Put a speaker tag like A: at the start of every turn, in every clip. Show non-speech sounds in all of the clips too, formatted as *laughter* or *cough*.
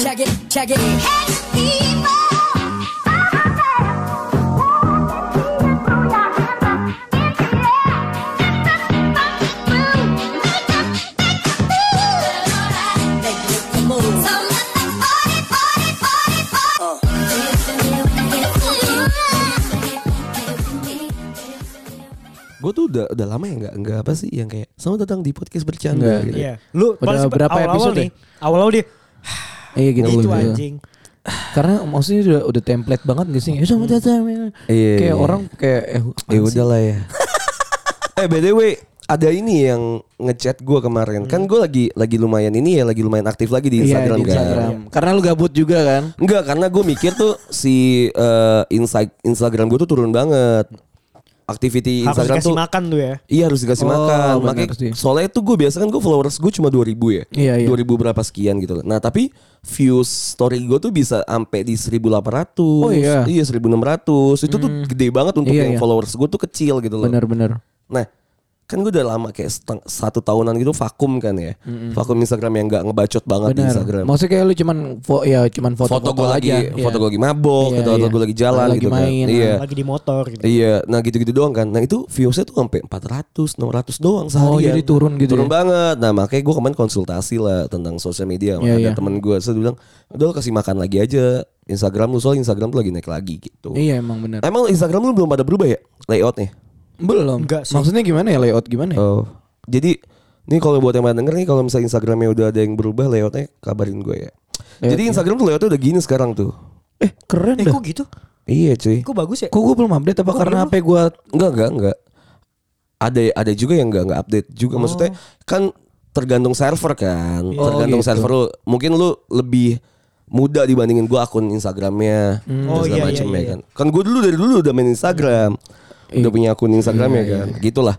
A: Check it. Make it the move.
B: Gue tuh udah udah lama ya nggak nggak apa sih yang kayak selamat datang di podcast bercanda
C: Nggak.
B: gitu.
D: Iya. Lu
C: Udah berapa episode
D: nih?
B: ya?
D: Awal-awal dia
C: Iya gitu
D: itu
C: gitu.
D: anjing.
C: Karena maksudnya udah udah template banget gak sih? Ya sama datang. ya.
B: Iya,
C: Kayak
B: iya.
C: orang kayak eh, apaan
B: Ya
C: sih?
B: udah lah
C: *laughs*
B: ya. eh btw ada ini yang ngechat gue kemarin kan gue lagi lagi lumayan ini ya lagi lumayan aktif lagi di
C: Hmm. Iya,
B: Instagram,
C: di
B: kan.
C: Instagram. Karena lu gabut juga kan?
B: Enggak karena gue mikir tuh si eh, insi- Instagram gue tuh turun banget. Aktiviti
D: Harus
B: Instagram
D: dikasih
B: tuh
D: makan tuh ya.
B: Iya harus dikasih
C: Oh,
B: makan.
C: benar
B: Makanya
C: sih.
B: soalnya itu gue biasa kan gue followers gue cuma 2000 ya.
C: Iya, iya.
B: 2000 berapa sekian gitu. loh. Nah, tapi views story gue tuh bisa sampai di 1800.
C: Oh, iya.
B: Iya, 1600. Itu tuh gede banget untuk
C: Iya,
B: yang
C: iya.
B: followers gue tuh kecil gitu loh.
C: Bener-bener.
B: Nah, kan gue udah lama kayak seteng- satu tahunan gitu vakum kan ya.
C: Hmm.
B: Vakum Instagram yang nggak ngebacot banget di
C: Bener.
B: Instagram.
C: Maksudnya kayak lu cuman fo- ya cuman
B: Foto
C: foto-foto
B: gue lagi,
C: aja.
B: foto gitu.
C: Iya.
B: gue lagi mabok,
C: Iya,
B: atau foto
C: iya.
B: gue lagi jalan
C: Lagi
B: gitu
C: main. ah.
B: kan. Iya.
D: Lagi di motor gitu.
B: Iya, nah gitu-gitu doang kan. Nah itu viewsnya tuh sampai 400, 600 doang seharian.
C: Oh, jadi turun gitu
B: Turun
C: ya?
B: banget. Nah makanya gue kemarin konsultasi lah tentang sosial media. sama
C: Iya,
B: ada
C: iya.
B: temen gue, saya bilang, udah lu kasih makan lagi aja Instagram lu, soal Instagram tuh lagi naik lagi gitu.
C: Iya emang bener.
B: Emang Instagram lu belum pada berubah ya layoutnya?
C: Belum.
D: Enggak sih.
C: Maksudnya gimana ya layout gimana ya?
B: Oh, jadi ini kalau buat yang pada denger nih kalau misalnya Instagramnya udah ada yang berubah layoutnya kabarin gue ya. jadi Instagram tuh layoutnya udah gini sekarang tuh.
C: Eh keren dah.
D: Eh kok gitu?
B: Iya cuy.
D: Kok bagus ya?
C: Kok gitu? gue belum update apa karena HP gue
B: Enggak, enggak, enggak. Ada ada juga yang enggak enggak update juga
C: Oh.
B: maksudnya kan tergantung server kan. tergantung
C: gitu.
B: server lu. Mungkin lu lebih muda dibandingin gua akun Instagramnya
C: Hmm.
B: dan
D: Oh,
B: segala
D: iya,
B: macem
D: iya,
B: ya
D: iya.
B: kan. Kan gua dulu dari dulu udah main Instagram.
C: Iya.
B: Udah punya akun Instagram ya kan. Gitulah.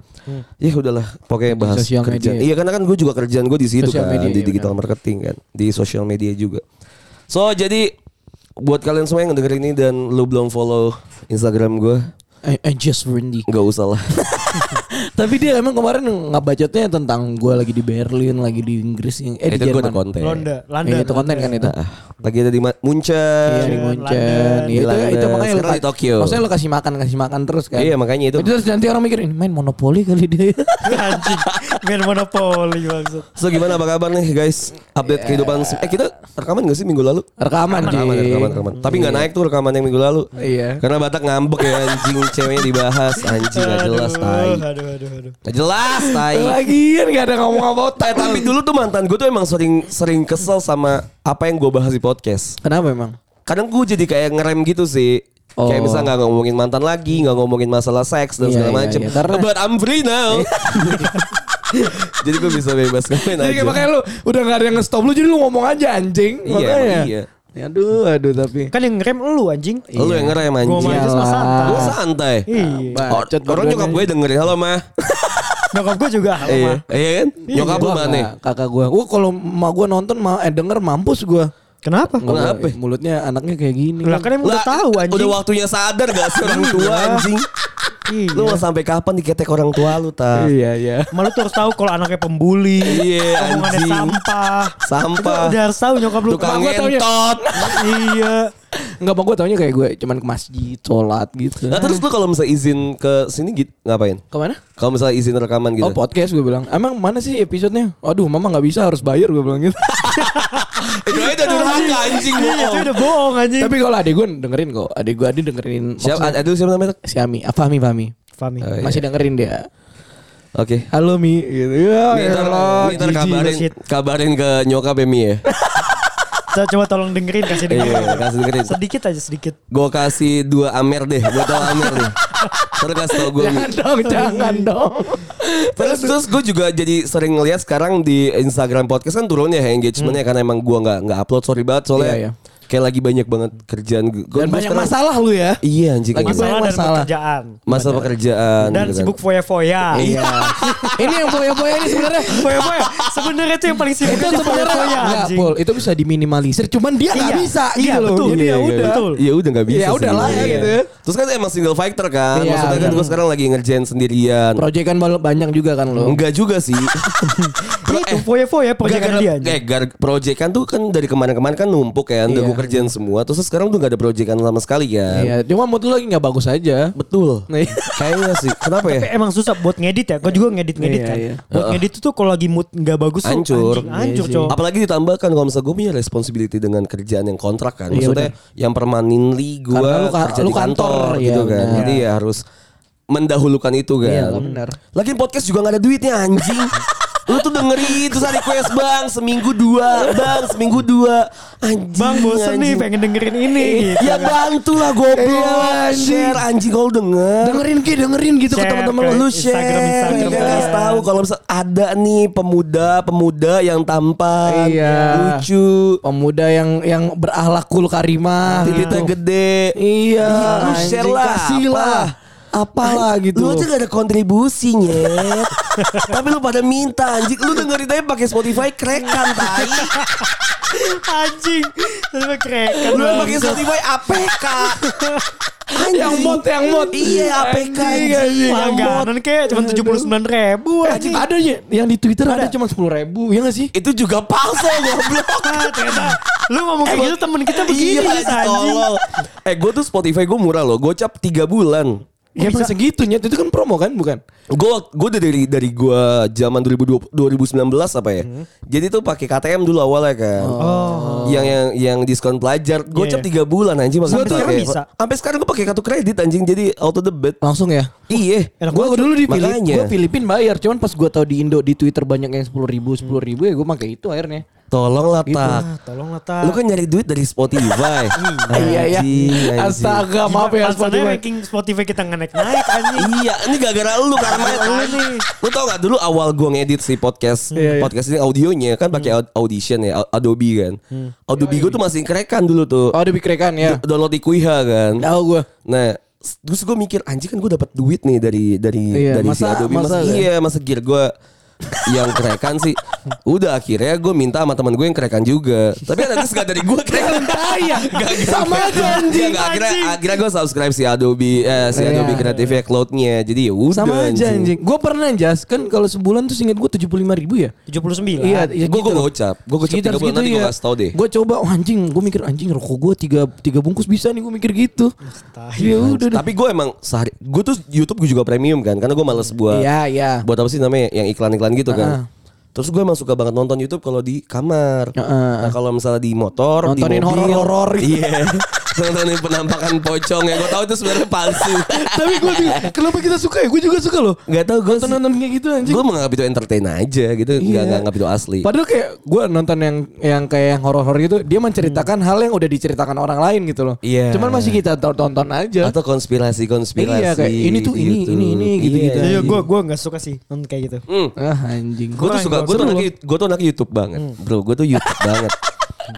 B: Ya udahlah pokoknya bahas
C: Hmm. sosial
B: kerjaan.
C: media.
B: Iya karena kan gue juga kerjaan gue di situ
C: Sosial
B: kan
C: media,
B: di
C: iya
B: digital marketing kan, di sosial media juga. So jadi buat kalian semua yang dengerin ini dan lu belum follow Instagram gua
C: I, I Eh, just *laughs* Randy.
B: Gak usah lah
C: Tapi dia emang kemarin ngebacotnya tentang gue lagi di Berlin, lagi di Inggris, yang- eh di
B: Itu gue
C: Jerman.
B: ada konten
D: Londa, Landa.
C: Iya, itu konten kan itu.
B: Ah, Lagi ada di Ma- Muncen
C: Iya di
D: London,
C: Munchen. Iya, itu,
B: London.
C: itu makanya lu
B: Sekarang di Tokyo.
C: Maksudnya lu kasih makan, kasih makan terus kan.
B: Iya, makanya itu.
C: Terus nanti orang mikirin main monopoli kali
B: *laughs*
C: dia.
D: *laughs* anjing. Main monopoli maksud.
B: So gimana apa kabar nih guys
C: Iya.
B: Update kehidupan se- Eh kita rekaman gak sih minggu lalu?
C: Rekaman sih.
B: Rekaman, rekaman, rekaman. Tapi gak naik tuh rekaman yang minggu lalu
C: Iya.
B: Karena Batak ngambek ya anjing Ceweknya dibahas Anjing gak jelas tai
D: Aduh, aduh, aduh, aduh.
B: Gak jelas tai
C: Lagian gak kan ada ngomong apa
B: Eh, tapi dulu tuh mantan gue tuh emang sering sering kesel sama apa yang gue bahas di podcast.
C: Kenapa emang?
B: kadang gue jadi kayak ngerem gitu sih Kayak
C: Oh.
B: misalnya nggak ngomongin mantan lagi, nggak ngomongin masalah seks dan
C: Iya,
B: segala
C: iya,
B: macem.
C: iya. Karena- Iya.
B: But I'm free now. *laughs* jadi gue bisa bebas ngapain Nah, aja.
C: Jadi kayak makanya lu udah gak ada yang nge-stop lu jadi lu ngomong aja anjing.
B: Iya,
C: makanya. Ya,
B: emang iya.
C: Aduh, aduh tapi.
D: Kan yang ngerem lu anjing.
B: Lu
C: Iya.
B: yang ngerem
D: Gua
B: anjing.
D: mah aja sama
C: Iyalah.
D: santai.
B: Gue santai.
D: Iya.
B: Or-
C: Bacot
B: Orang
C: berdua
B: nyokap
C: nih.
B: gue dengerin halo mah.
D: Nyokap gue juga halo
B: Iya,
D: mah.
B: iya kan? Nyokap lu
C: Gua
B: mana?
C: nggak, kakak gua. Gua kalau emak gua nonton ma eh denger mampus gua.
D: Kenapa?
C: Nggak, gua-
B: Kenapa?
C: Mulutnya anaknya kayak gini.
D: Lah kan emang udah
B: Lah,
D: tahu anjing.
B: Udah waktunya sadar gak sih orang tua
D: Iya.
B: anjing?
D: Iya.
B: Lu mau sampai kapan diketek orang tua lu tak?
C: Iya, iya.
D: Malu tuh harus tahu kalau anaknya pembuli,
B: Iya,
D: omongannya
B: anjing.
D: sampah,
B: Sampah.
D: Itu udah harus tahu nyokap lu.
B: Tukang
C: gua taunya.
B: ngentot.
D: iya.
C: Enggak apa gua taunya kayak gue cuman ke masjid, sholat gitu.
B: Nah terus lu kalau misalnya izin ke sini gitu ngapain?
C: Kemana?
B: Kalau misalnya izin rekaman gitu.
C: Oh podcast gue bilang Emang mana sih episodenya Aduh mama gak bisa harus bayar gue bilang gitu
B: Itu aja durhaka anjing
D: Iya, itu
B: bohong.
D: udah bohong *laughs* anjing.
C: Tapi kalau adek gue dengerin kok Adek gue adek dengerin
B: Siapa
C: maksudnya
B: ada dulu siapa namanya?
C: Si Ami ah, Fahmi Fahmi
D: Fahmi.
B: Eh,
C: Masih dengerin dia
B: Oke.
C: Halo Mi gitu. Ya,
B: Ini ntar, ini ntar kabarin,
D: shit.
B: kabarin ke nyokap ya Mi ya.
D: Coba, coba tolong dengerin kasih dengerin.
B: Iya, kasih dengerin.
D: Sedikit aja sedikit.
B: Gue kasih dua amer deh, gue tau amer deh. Terus kasih tau gue. Mi.
C: Jangan *laughs* dong
D: *laughs*
C: Jangan dong
B: Terus terus gue juga jadi sering ngeliat sekarang di Instagram podcast kan turunnya ya engagementnya karena emang gue nggak nggak upload sorry banget soalnya.
C: Hmm. Iya, iya.
B: Kayak lagi banyak banget kerjaan. Gua- gua
C: Dan banyak
B: sekarang-
C: masalah lu ya.
B: Iya anjing.
C: Lagi
B: kayak gitu.
C: banyak
D: Masalah dan
C: masalah.
D: pekerjaan
B: Masalah pekerjaan.
D: dan
B: gitu kan.
D: sibuk foya-foya. Iya,
C: Iya. *laughs* ini yang boya-boya ini
D: *laughs*
C: sebenarnya
D: Foya-foya. Sebenarnya itu yang paling sibuk
C: itu
D: itu
C: sebenarnya
B: Ya,
D: foya-foya
C: enggak,
D: anjing.
C: Pol. Itu bisa diminimalisir, cuman dia nggak
D: Iya.
C: bisa
D: Iya,
C: gitu loh.
D: betul.
C: Jadi
D: Iya,
C: ya
D: iya,
C: udah.
D: betul.
B: Ya udah nggak bisa.
C: Ya udahlah ya
B: sebenarnya.
C: gitu ya.
B: Terus kan emang single fighter kan.
C: Iya,
B: Maksudnya kan
C: bener.
B: gue sekarang lagi ngerjain sendirian.
C: Proyek kan bal- banyak juga kan lo.
B: Enggak juga
C: *laughs*
B: sih. Pro-
D: Itu
B: eh,
D: foya-foya proyekan
B: gara-
D: dia anjing.
B: Eh, gar, proyekan tuh kan dari kemarin-kemarin kan numpuk ya, udah
C: Iya.
B: gue kerjain semua. Terus sekarang tuh gak ada proyekan sama sekali kan.
C: Iya, cuma mood lu lagi nggak bagus aja.
B: Betul.
C: *laughs* Nih.
B: Kayaknya sih. Kenapa ya?
D: Tapi emang susah buat ngedit ya. Gue juga ngedit-ngedit
C: Iya,
D: kan.
C: iya.
D: Buat ngedit tuh kalau lagi mood nggak bagus tuh
B: Hancur.
D: anjing, hancur
C: Iya sih.
D: cowok.
B: Apalagi ditambahkan kalau misalnya gue punya responsibility dengan kerjaan yang kontrak kan.
C: Iya,
B: Maksudnya yang permanently gue
C: Karena lu ka-
B: kerja
C: lu
B: di kantor,
C: kantor,
B: gitu
C: iya,
B: kan.
C: benar.
B: Jadi ya harus mendahulukan itu kan.
C: Iya, benar.
B: Lagian podcast juga gak ada duitnya
C: *laughs*
B: anjing. lu tuh dengerin terus ada request bang seminggu dua bang seminggu dua anjing
D: Bang
B: Iya,
D: bosen nih
B: anjing.
D: pengen dengerin ini gitu.
B: ya bantu lah goblok
C: kan. Iya, anjing.
B: share anjing kalau denger
C: Dengerin ki, dengerin gitu
D: Share
C: ke teman-teman
D: ke
C: lu.
B: lu share
D: Instagram, Instagram,
B: ya kan?
D: Instagram.
B: Kasih tahu kalau misal ada nih pemuda pemuda yang tampan
C: Iya.
B: lucu
C: Pemuda yang yang berahlakul karimah.
B: tititnya
C: gitu.
B: gede
C: Iya,
B: lu
C: anjing,
B: share lah
C: kasih
B: apa.
C: lah. Apalah gitu.
B: lu aja gak ada kontribusinya
C: *laughs*
B: tapi lu pada minta anjing lu dengerin aja pakai Spotify kerekan tai
D: Anjing. kan Sama kerekan.
B: lu
D: bang.
B: pakai Spotify APK Anjing.
C: Yang mod, yang mod.
B: iya APK
C: Anjing,
B: anjing.
C: anjing.
B: Yang Iya, mod.
D: Langganan kayak cuma 79 ribu
C: Anjing,
D: anjing.
C: ada ya yang di Twitter ada, cuma sepuluh ribu, ya gak sih?
B: itu juga palsu
C: *laughs*
B: goblok
D: Ah, ternyata lu ngomong
C: Nah,
D: kayak gitu temen kita begini
B: Iya
D: Mas, anjing.
B: tolol. Eh gue tuh Spotify gue murah loh Gocap 3 bulan
C: Ya
D: Iya,
C: emang segitunya, itu kan promo kan, bukan?
B: Gue gue udah dari dari gue zaman 2020, 2019 apa ya?
D: Hmm.
B: Jadi tuh pakai KTM dulu awalnya kan. Yang yang yang diskon pelajar. Gocap
D: Oh. Iya,
B: tiga 3 bulan anjing masa gua
D: Sampai sekarang
B: pakai-
D: bisa. Oh,
B: Sampai sekarang gue pakai kartu kredit anjing jadi auto debit.
C: Langsung ya.
B: Iya.
D: Enak
C: Gue dulu di Filipina,
B: Makanya.
C: gue Filipin bayar, cuman pas gue tau di Indo di Twitter banyak yang sepuluh ribu, sepuluh ribu ya gue pakai itu akhirnya.
B: Tolong lah tak.
D: Ah, tolong lah
B: Lu kan nyari duit dari Spotify.
D: *laughs*
B: Anjing,
D: Iya,
B: anjing.
C: Iya, Astaga, maaf ya
D: Spotify.
C: Spotify.
D: ranking Spotify kita nggak naik-naik anjing.
B: Iya, ini gara-gara lu karena main lu nih. Lu tau gak dulu awal gua ngedit si podcast,
C: Iya, iya.
B: podcast ini audionya kan pakai
D: Hmm.
B: aud- audition ya, Au- Adobe kan. Adobe
D: Iya,
B: gua tuh masih kerekan dulu tuh.
C: Oh, ada bikrekan ya.
B: Do- Download di Kuiha kan.
C: Tahu gue.
B: Nah, s- terus gua mikir anjing kan gua dapat duit nih dari dari
C: Iya,
B: dari si
C: masa-
B: Adobe. Mas-
C: masa kan?
B: iya, masa gear gua yang kerekan sih Udah akhirnya gue minta sama teman gue yang kerekan juga Tapi nanti gak dari gue
C: *laughs*
B: kerekan
C: Kaya. Ah, iya. Sama aja
B: Iya,
C: anjing.
B: nggak, akhirnya akhirnya gue subscribe si Adobe eh, si
C: Iya.
B: Adobe Creative ya cloudnya jadi ya udah
C: Sama aja anjing. Gue pernah jas, kan kalau sebulan tuh inget gue tujuh puluh lima ribu ya.
D: 79.
C: Iya,
B: Gue gue gocap, gue gocap tiga bulan nanti gue kasih tau deh.
C: Gue iya. coba oh, anjing, gue mikir anjing rokok gue tiga tiga bungkus bisa nih gue mikir gitu. Ya udah. deh.
B: Tapi gue emang sehari, gue tuh YouTube gue juga premium kan, karena gue males buat
C: Iya iya.
B: buat apa sih namanya yang iklan-iklan gitu kan. Terus gue emang suka banget nonton YouTube kalau di kamar.
C: Heeh.
B: Nah kalau misalnya di motor, di
C: Nontonin
B: mobil,
C: horor-horor gitu.
B: *laughs*
C: *laughs*
B: Iya. Nontonin penampakan pocong ya. Gue tahu itu sebenarnya palsu.
C: Tapi gue kenapa kita suka ya? Gue juga suka loh.
B: Gak tau gue
C: Nonton nonton kayak gitu anjing. Iya.
B: Gue menganggap itu entertain aja gitu. Gak nganggap itu asli.
C: Padahal kayak gue nonton yang yang kayak yang horor-horor gitu, dia menceritakan hal yang udah diceritakan orang lain gitu loh.
B: Hmm. Iya.
C: Cuman masih kita tonton- tonton aja.
B: Atau konspirasi-konspirasi. gitu.
C: Iya, kayak ini tuh ini, ini, ini, gitu-gitu.
B: Iya.
D: Iya, gue gua nggak suka sih nonton kayak gitu.
C: ah anjing.
B: Gue tuh
D: Kurang,
B: suka, gue
D: kurang.
B: tuh
D: Seru Hmm.
B: anak, gue tuh anak YouTube banget, bro. Gue tuh
D: *laughs*
B: YouTube banget.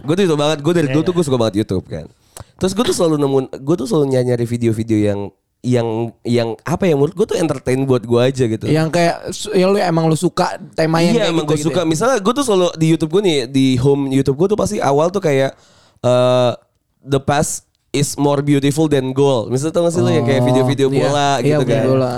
B: Gue tuh YouTube banget. Gue
D: Iya,
B: dari dulu tuh gue suka banget YouTube kan. Terus gue tuh selalu nemu, gue tuh selalu nyari- nyari video-video yang yang yang apa ya menurut gue tuh entertain buat gue aja gitu.
C: Yang kayak su- yang lu emang lu suka tema yang
B: Iya
C: kayak
B: emang
C: gitu
B: gue
C: gitu
B: suka
C: ya.
B: Misalnya gue tuh selalu di Youtube gue nih Di home Youtube gue tuh pasti awal tuh kayak eh, The past is more beautiful than gold Misalnya tau gak sih lo yang kayak
C: Oh,
B: video-video
C: iya.
B: bola
C: Iya,
B: gitu
C: video
B: kan
C: bola.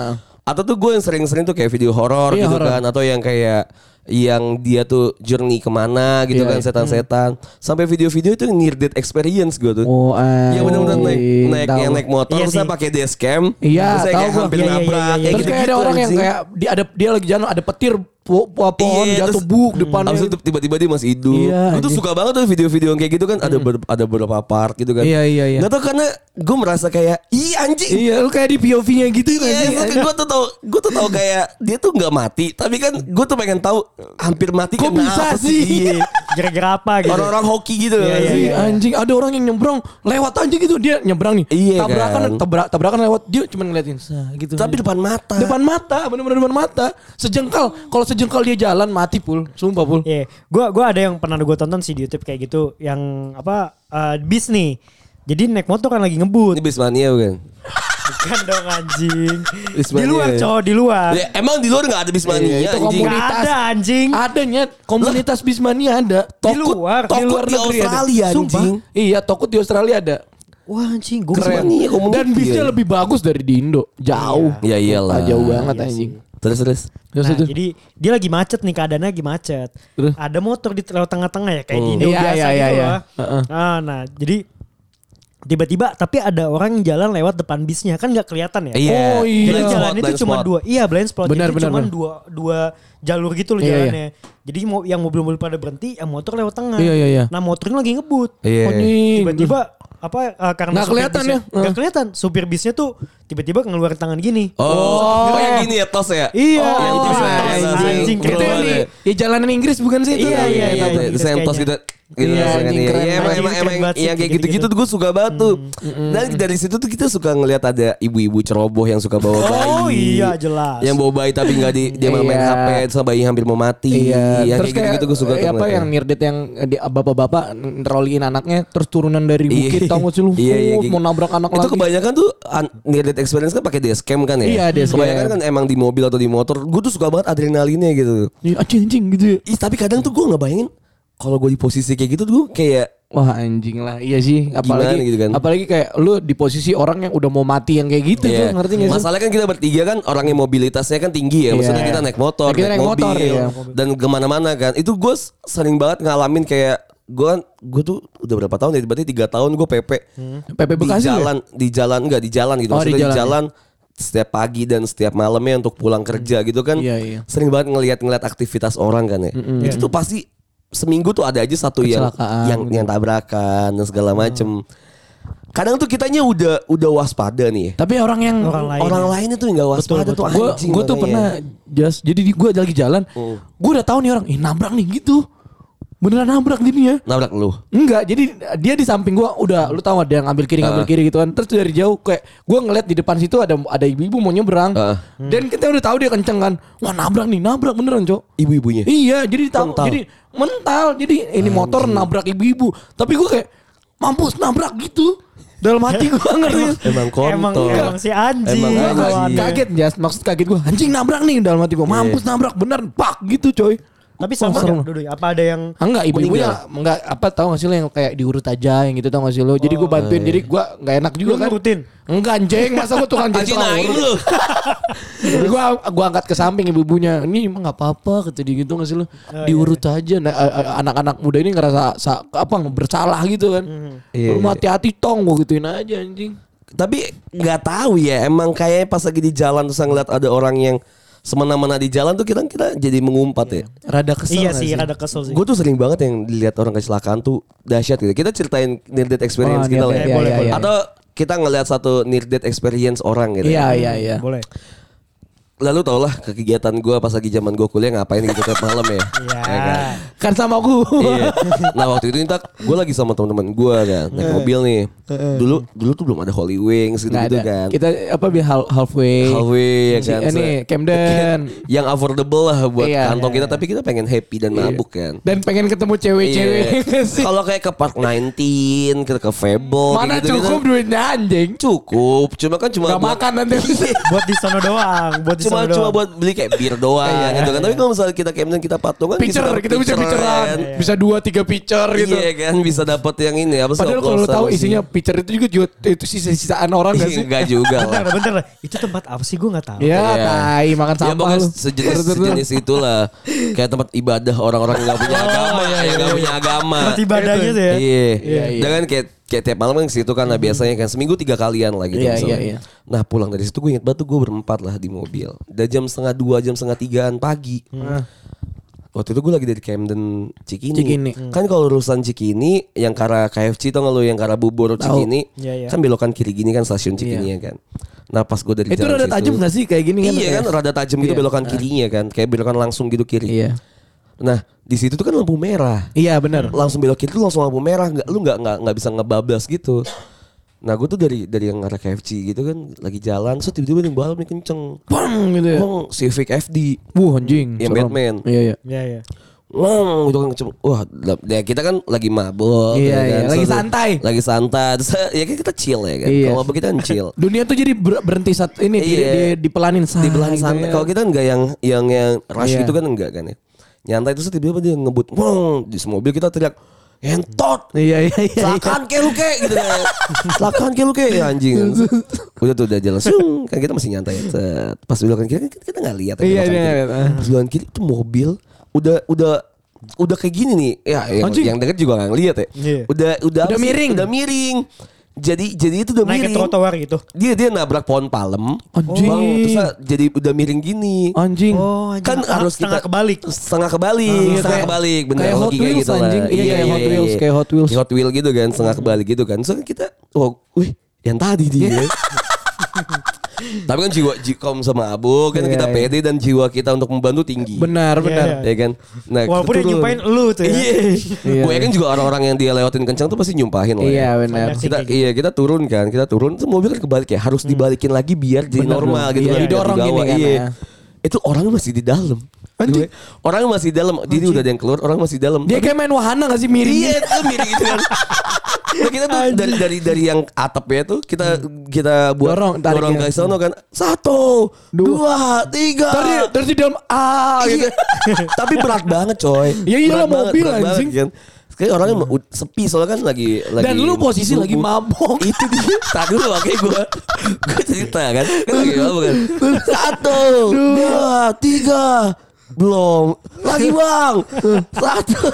B: Atau tuh gue yang sering-sering tuh kayak video horor
C: Iya,
B: gitu
C: horor.
B: kan Atau yang kayak yang dia tuh journey kemana gitu
C: Iya,
B: kan
C: iya.
B: setan-setan sampai video-video itu near death experience gue tuh
C: Oh,
B: yang benar-benar Iya, naik
C: anjing,
B: naik
C: tahu.
B: yang naik motor Ya
D: Iya
B: terus saya
D: sih.
B: pakai dashcam
C: Iya,
B: terus saya
C: tahu
B: kayak
C: gua.
B: hampir
D: Iya, iya,
B: nabrak
D: iya,
B: kayak
D: iya.
C: Terus kayak ada
B: gitu-gitu,
C: orang yang
B: anjing.
C: kayak dia ada dia lagi jalan ada petir po- po- pohon
B: Iya,
C: jatuh
B: terus-
C: buk depannya.
B: Abis itu tiba-tiba dia masih hidup.
C: Iya,
B: Gue tuh
C: anjing. Hmm.
B: suka banget tuh video-video yang kayak gitu kan ada ber- ada beberapa part gitu kan.
C: Iya, iya, iya.
B: Gak tau karena gue merasa kayak ih anjing.
C: Iya, lu kayak di POV-nya gitu
B: Iya,
C: anjing.
B: gue tuh tau, gue tuh tau kayak dia tuh nggak mati, tapi kan gue tuh pengen tahu hampir mati
C: Kok bisa
B: kenapa
C: sih?
B: Iya.
D: Gara-gara apa gitu.
B: Orang-orang hoki gitu loh.
D: Iya, iya,
C: Iya,
D: iya.
C: anjing ada orang yang nyebrang lewat aja gitu dia nyebrang nih
B: Iya
C: tabrakan
B: kan.
C: tabrak tabrakan lewat dia cuma ngeliatin sah gitu
B: Tapi depan mata.
C: depan mata bener-bener depan mata sejengkal kalau sejengkal dia jalan mati pul sumpah pul
D: Iya, gua gua ada yang pernah gue tonton sih di YouTube kayak gitu yang apa eh, bis nih. Jadi naik motor kan lagi
B: Ini
D: ngebut.
B: Bismania bukan?
D: Bukan dong anjing. di
B: Bismania.
D: luar cowok di luar.
B: Ya, emang di luar gak ada Bismania
C: Ah. Iya, itu
B: anjing.
C: komunitas.
D: Nggak ada anjing.
C: adanya komunitas bismania ada tokut
D: luar, di
C: tokut
B: luar
C: di,
B: negeri ada.
C: Australia
B: Sumpah.
C: anjing iya tokut di Australia ada
D: Wah anjing, gue
C: keren
B: Bismania, komunitas.
C: dan bisnya lebih bagus dari di Indo jauh
B: Ya iyalah.
C: Ah, jauh banget anjing
B: Terus terus.
C: Terus,
D: Nah,
C: terus.
D: jadi dia lagi macet nih keadaannya lagi macet.
C: Terus?
D: Ada motor di lewat tengah-tengah ya kayak di Indo
C: Iya,
D: biasa
C: iya,
D: gitu
C: iya, iya.
D: loh.
C: Heeh.
D: Ah, nah, jadi tiba-tiba tapi ada orang yang jalan lewat depan bisnya kan nggak kelihatan ya.
B: Iya.
C: Oh, iya.
D: Jadi
B: Blind
D: jalan
B: spot,
D: itu
B: blind
D: cuma
B: spot.
D: dua. Iya, blind spot.
C: Benar,
D: jadi
C: benar,
D: cuma
C: benar.
D: dua dua jalur gitu loh
C: Iya,
D: jalannya. Jadi mau yang mobil-mobil pada berhenti, yang motor lewat tengah.
C: Iya, iya, iya.
D: Nah, motornya lagi ngebut.
B: Iya.
C: Anjing.
D: Tiba-tiba apa eh, karena
C: Nggak
D: supir
C: kelihatan
D: bisnya-
C: ya?
D: nggak kelihatan. Supir bisnya tuh tiba-tiba ngeluarin tangan gini.
B: Oh, kayak gini ya tos ya.
D: Iya,
B: Yang
D: itu
B: tos ya,
D: anjing,
B: yang tos.
D: anjing,
C: itu yang di ya jalanan Inggris bukan sih itu?
D: Iya, iya, iya,
B: Iya,
D: iya,
B: Saya tos gitu.
D: kayaknya.
B: Gitu
C: Iya,
B: rasanya
C: anjing,
B: nih.
C: keren
B: Iya, emang
D: banget.
B: emang
D: Keren
B: emang
D: banget sih,
B: yang kayak gitu-gitu
D: gitu-gitu.
B: tuh gue suka banget tuh.
C: Mm,
B: Dan dari situ tuh kita suka ngelihat ada ibu-ibu ceroboh yang suka bawa bayi.
D: Oh, iya, jelas.
B: Yang bawa bayi tapi nggak di dia malah main
C: Iya.
B: HP sama bayi hampir mau mati. Yang
C: terus
B: Iya, kayak gitu-gitu gue suka
C: kayak eh,
B: tuh
C: apa
B: ngeliatnya.
C: yang nirdet yang eh, di- bapak-bapak ngeroliin anaknya terus turunan dari
B: Iya.
C: bukit tahu nggak sih lu
B: Iya, iya,
C: Oh,
B: kayak
C: mau
B: gitu.
C: nabrak anak
B: Itu
C: lagi.
B: kebanyakan tuh an- near death experience kan pakai dashcam kan ya.
C: Iya, dashcam.
B: Kebanyakan kan emang di mobil atau di motor. Gue tuh suka banget adrenalinnya gitu.
C: Iya, anjing anjing gitu. ya.
B: Ih, tapi kadang tuh gue nggak bayangin kalau gue di posisi kayak gitu tuh kayak
C: Wah anjing lah iya sih apalagi
B: Gimana gitu kan?
C: apalagi kayak lu di posisi orang yang udah mau mati yang kayak gitu
B: Iya.
C: tuh ngerti gak sih?
B: Masalahnya kan kita bertiga kan orangnya mobilitasnya kan tinggi ya. Maksudnya
C: Iya.
B: kita naik motor,
C: Kita naik motor, iya.
B: dan kemana-mana kan. Itu gue s- sering banget ngalamin kayak gue kan gue tuh udah berapa tahun ya berarti tiga tahun gue PP
C: PP Bekasi
B: di
C: lu ya?
B: jalan di jalan enggak di jalan gitu
C: Oh,
B: maksudnya
C: di
B: di
C: jalan,
B: jalan setiap pagi dan setiap malamnya untuk pulang kerja gitu kan
C: Iya, iya. Hmm,
B: sering banget ngelihat-ngelihat aktivitas orang kan ya itu tuh pasti seminggu tuh ada aja satu yang
C: Kecelakaan gitu. Hmm.
B: yang yang tabrakan dan segala macem kadang tuh kitanya udah udah waspada nih ya.
C: Tapi orang yang
D: Orang lain.
B: orang lainnya tuh nggak waspada tuh
C: gue
B: anjing Hmm.
C: gue tuh
B: makanya.
C: pernah jas jadi gue lagi jalan gue udah tahu nih orang ih nabrak nih gitu beneran nabrak jadinya
B: nabrak lu
C: Enggak, jadi dia di samping gua udah lu tahu ada yang ngambil kiri
B: Ah.
C: ngambil kiri gitu kan. Terus dari jauh kayak gua ngeliat di depan situ ada ada ibu-ibu mau nyebrang.
B: Heeh.
C: Dan kita udah tahu dia kenceng kan. Wah, nabrak nih, nabrak beneran, Cok.
B: ibu-ibunya
C: Iya, jadi tahu
B: Mental.
C: jadi mental. Jadi ini motor nabrak ibu-ibu. Tapi gua kayak mampus nabrak gitu. Dalam hati gua ngerti.
B: *laughs* emang kontol
D: Emang, iya, emang si anjing.
B: Emang
C: Gua
D: Kalau
C: kaget,
B: anjing.
D: ada.
C: kaget Jas. maksud kaget gua anjing nabrak nih dalam hati
B: Iya.
C: gua mampus nabrak bener pak gitu coy
D: Tapi sama
C: Wah, serem.
D: nggak, Dudu? apa ada yang
C: Ah, enggak ibu-ibunya enggak apa tahu gak sih lo yang kayak diurut aja yang gitu tahu gak sih lo. Jadi gue
B: Oh,
C: bantuin
B: iya,
C: jadi gue nggak enak juga
D: Lu
C: kan.
D: ngurutin?
C: Enggak anjing masa gue tukang
B: *laughs*
C: jadi
B: anjing
C: tukang
B: naik
C: urut.
B: lu
C: Jadi gue gua angkat ke samping ibu-ibunya. Ini emang nggak apa-apa kata dia gitu gak
D: Oh,
C: sih lo.
D: iya,
C: Diurut aja nah, eh, eh, anak-anak muda ini ngerasa sa- apa bersalah gitu kan.
D: Hmm.
B: Iya,
C: Lu
B: iya.
C: hati-hati tong gue gituin aja anjing.
B: tapi nggak tahu ya emang kayaknya pas lagi di jalan terus ngeliat ada orang yang semena-mena di jalan tuh kita kita jadi mengumpat ya
C: Rada kesel
D: Iya
C: nggak
D: sih, rada kesel sih.
B: Gue tuh sering banget yang dilihat orang kecelakaan tuh dahsyat gitu. Kita ceritain near death experience
C: Oh,
B: kita
C: iya,
B: lah. ya.
C: iya, iya, iya.
B: Atau kita ngelihat satu near death experience orang gitu.
C: Iya iya iya.
D: Boleh.
B: Lalu tau lah ke kegiatan gue pas lagi zaman gue kuliah ngapain gitu tiap malam ya.
D: Iya.
B: Ya kan?
C: Kan sama gue.
B: Iya. *laughs* Nah waktu itu tak gue lagi sama teman-teman gue kan naik mobil nih. Dulu dulu tuh belum ada Holy Wings gitu,
C: *laughs* Nggak
B: -gitu
C: ada.
B: kan.
C: Kita apa biar hal- halfway.
B: Halfway ya kan. Iya.
C: Si- ini, Camden.
B: *laughs* Yang affordable lah buat
C: Iya,
B: kantong
C: iya,
B: kita tapi kita pengen happy dan mabuk kan.
C: Dan pengen ketemu cewek-cewek
B: Iya.
C: *laughs* nggak sih?
B: Kalau kayak ke Park 19, ke, ke Fable
C: Mana
B: kayak gitu-gitu.
C: cukup duitnya anjing.
B: Cukup, cuma kan cuma
C: Gak
B: buat- Iya,
C: makan
B: *laughs*
C: nanti.
D: Buat di sono doang, buat di
B: cuma
D: sono
B: cuma
D: doang.
B: buat beli kayak bir doang gitu kan. Tapi kalau misalnya kita Camden kita patungan
C: *laughs* Picture,
B: dapat
C: Iya. kita bisa
B: kan.
C: picturean. Bisa dua tiga picture gitu.
B: Iya kan bisa dapat yang ini apa sih,
C: Padahal kalau lu
B: oplosan
C: tahu
B: sih.
C: isinya picture itu juga juga itu sisa-sisaan orang gak
B: Iya,
C: sih?
B: enggak juga lah.
D: Bentar,
B: *laughs*
D: bentar. Itu tempat apa sih gue gak tahu.
C: Ya,
B: Iya.
C: tai makan
B: Ya
C: sampah
B: pokoknya
C: lu.
B: sejenis,
C: *laughs* Terus, terus, terus.
B: sejenis itulah Kayak tempat ibadah orang-orang yang gak
C: *laughs*
B: punya
C: Oh,
B: agama ya Yang gak punya agama
D: Tempat ibadahnya tuh ya.
B: Iya.
C: Iya, iya.
B: Dengan kayak kayak tiap malam kan ke situ kan nah, biasanya kan seminggu tiga kalian lah gitu.
C: Iya,
B: misalnya.
C: iya, iya.
B: Nah pulang dari situ gue inget banget tuh gue berempat lah di mobil. Udah jam setengah dua, jam setengah tigaan pagi. Waktu itu gue lagi dari Camden Cikini.
C: Mm-hmm. Cikini.
B: Kan kalau urusan Cikini yang ke arah KFC tau gak lu yang ke arah Bubur Cikini.
D: Iya, iya.
B: Kan belokan kiri gini kan stasiun Cikini kan. Nah pas gue dari
C: Iya. Itu
B: jalan
C: rada
B: situ-
C: tajam gak sih kayak gini kan?
B: Iya kan Iya rada tajam gitu
C: Iya.
B: belokan kirinya kan, kayak belokan langsung gitu kiri.
C: Iya.
B: Nah, di situ tuh kan lampu merah.
C: Iya benar.
B: Langsung belok kiri tuh langsung lampu merah, nggak lu nggak nggak nggak bisa ngebablas gitu. Nah, gue tuh dari dari yang arah KFC gitu kan lagi jalan, so tiba-tiba yang balap nih kenceng.
C: Bang gitu ya.
B: Bang, Civic FD.
C: Wuh anjing.
B: Yang
C: serem.
B: Batman.
C: Iya iya.
D: Iya iya.
B: Wah, gitu kan kenceng. Wah, lap- ya kita kan lagi mabok.
C: Iya,
B: ya
C: iya,
B: kan.
C: lagi
B: So,
C: santai.
B: Lagi santai. Terus, ya kan kita chill ya kan.
C: Iya.
B: Kalau mabok kita kan
C: *laughs*
B: chill.
C: Dunia tuh jadi ber- berhenti saat ini di,
B: Iya.
C: di- dipelanin sah,
B: Dibilang
C: gitu
B: santai.
C: ya.
B: Kalau kita enggak yang yang yang rush
C: Iya.
B: gitu kan enggak kan ya. Nyantai terus tiba-tiba dia ngebut. Wong, di mobil kita teriak entot.
C: *laughs* Iya iya iya.
B: Selakan ke lu ke gitu
C: *laughs*
B: kan. Selakan ke lu ke ya, anjing. Udah tuh udah jalan sung kan kita masih nyantai. Set. Pas belokan kiri kan kita nggak lihat. kan
C: Iya,
B: belokan
C: iya,
B: kiri.
C: iya, iya.
B: Pas belokan kiri itu mobil udah udah udah kayak gini nih. Ya yang,
C: Anjing.
B: yang deket juga nggak ngeliat ya.
D: Iya.
B: Udah udah apa
C: Udah
B: sih?
C: miring.
B: Udah miring. Jadi jadi itu udah
D: Naik ke
B: miring.
D: trotoar gitu.
B: Dia dia nabrak pohon palem.
C: Anjing.
B: Bang, terus jadi udah miring gini.
C: Anjing. Ah,
B: Kan harus
D: setengah
B: kita- Iya,
D: Oh, kebalik.
B: Setengah kebalik, setengah
C: iya, kayak-
B: kebalik, bener
C: kayak Hot
B: logika
C: Wheels,
B: gitu lah.
C: anjing. Iya, kayak Hot Wheels, kayak Hot Wheels. Ah.
B: Hot Wheels gitu kan, setengah kebalik gitu kan. So kita, oh, wih, yang tadi
C: Iya.
B: dia. *laughs* Tapi kan jiwa jikom sama abu kan
C: Iya,
B: kita
C: iya.
B: pede dan jiwa kita untuk membantu tinggi.
C: Benar benar.
D: Iya,
B: Ya kan? Nah, kita
D: Walaupun yang
B: turun.
D: nyumpahin lu tuh ya.
B: Iya.
C: Iya.
B: Gue yakin juga orang-orang yang dia lewatin kencang tuh pasti nyumpahin lah. ya.
C: Iya benar.
D: Ada sih
B: Kita
D: kayak gitu.
B: iya kita turun kan, kita turun tuh mobil kan kebalik ya, harus dibalikin lagi biar jadi
C: Bener,
B: normal
C: bener.
B: gitu
C: Hmm. Iya,
B: kan.
C: didorong
B: Dari bawah,
C: gini kan,
B: iya.
C: ya.
B: Itu orang masih di dalam.
C: Anjing.
B: Orang masih di dalam, jadi udah ada yang keluar, orang masih di dalam.
C: Dia kayak main wahana gak sih miring?
B: Iya itu miring gitu kan. Nah, kita tuh dari dari dari yang atapnya tuh kita kita buat
C: Dorong, tarik
B: dorong
C: ya.
B: ke sono kan satu
C: Dua.
B: dua, tiga
C: Terus dia- terus di dalam ah
B: Iya.
C: gitu.
B: *laughs* Tapi berat banget coy.
C: Ya
B: Berat
C: iyalah,
B: banget,
C: mobil,
B: berat banget,
C: anjing.
B: kan. Sekali orangnya mau- sepi soalnya kan lagi lagi Iya.
C: Dan lu posisi lagi
B: mabuk. *laughs*
C: mabok.
B: Itu dia. Tak dulu makanya gue
C: *laughs*
B: gue cerita kan. Kan lagi mabuk kan. Satu, dua, tiga. Belum Lagi
C: *laughs*
B: bang Satu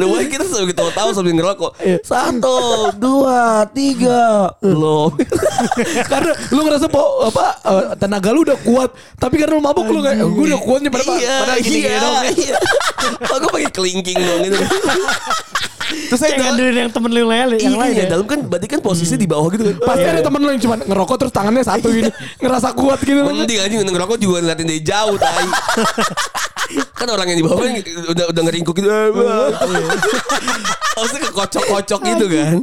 B: Lu bayangin kita sambil ketawa tahu sambil ngerokok
C: Iya.
B: Satu
C: *laughs*
B: Dua Tiga Belum
C: karena lu ngerasa po, apa eh, tenaga lu udah kuat tapi karena lu mabuk lu kayak "Eh, gue udah kuat nih padahal
B: iya,
C: padahal gini-gini
B: iya,
C: doang."
B: iya. Kalau gue pakai kelingking dong
C: *laughs*
B: gitu. Terus saya
D: Kayak
B: dalam,
D: ngandelin yang temen lu yang lain yang lain
B: iya,
D: ya.
B: dalam kan berarti kan posisi di bawah gitu kan.
C: pasti ada temen lu yang cuma ngerokok terus tangannya satu gini ngerasa kuat gitu
B: Iya. Mending aja ngerokok juga ngeliatin dari jauh tai. kan orang yang di bawah kan udah udah ngeringkuk gitu. "Eh, Bang." Maksudnya kekocok-kocok gitu kan.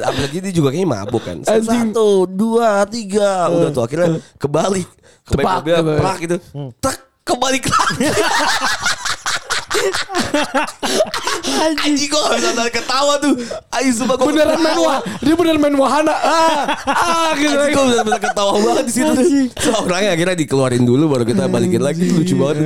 B: Apalagi dia juga kayaknya mabuk kan.
C: Anjing.
B: Satu, dua, tiga. Udah tuh akhirnya kebalik. Kebalik
C: Tepak,
B: mobil,
C: kebalik.
B: prak gitu. Tak, kebalik lagi. Anjing kok gak bisa tahan ketawa tuh. Ayo sumpah gua
C: beneran main
B: ketawa.
C: wah dia beneran main wahana ah ah gitu
B: Anjing gue bener-bener ketawa banget di situ. So, orangnya akhirnya dikeluarin dulu baru kita balikin lagi Itu lucu banget.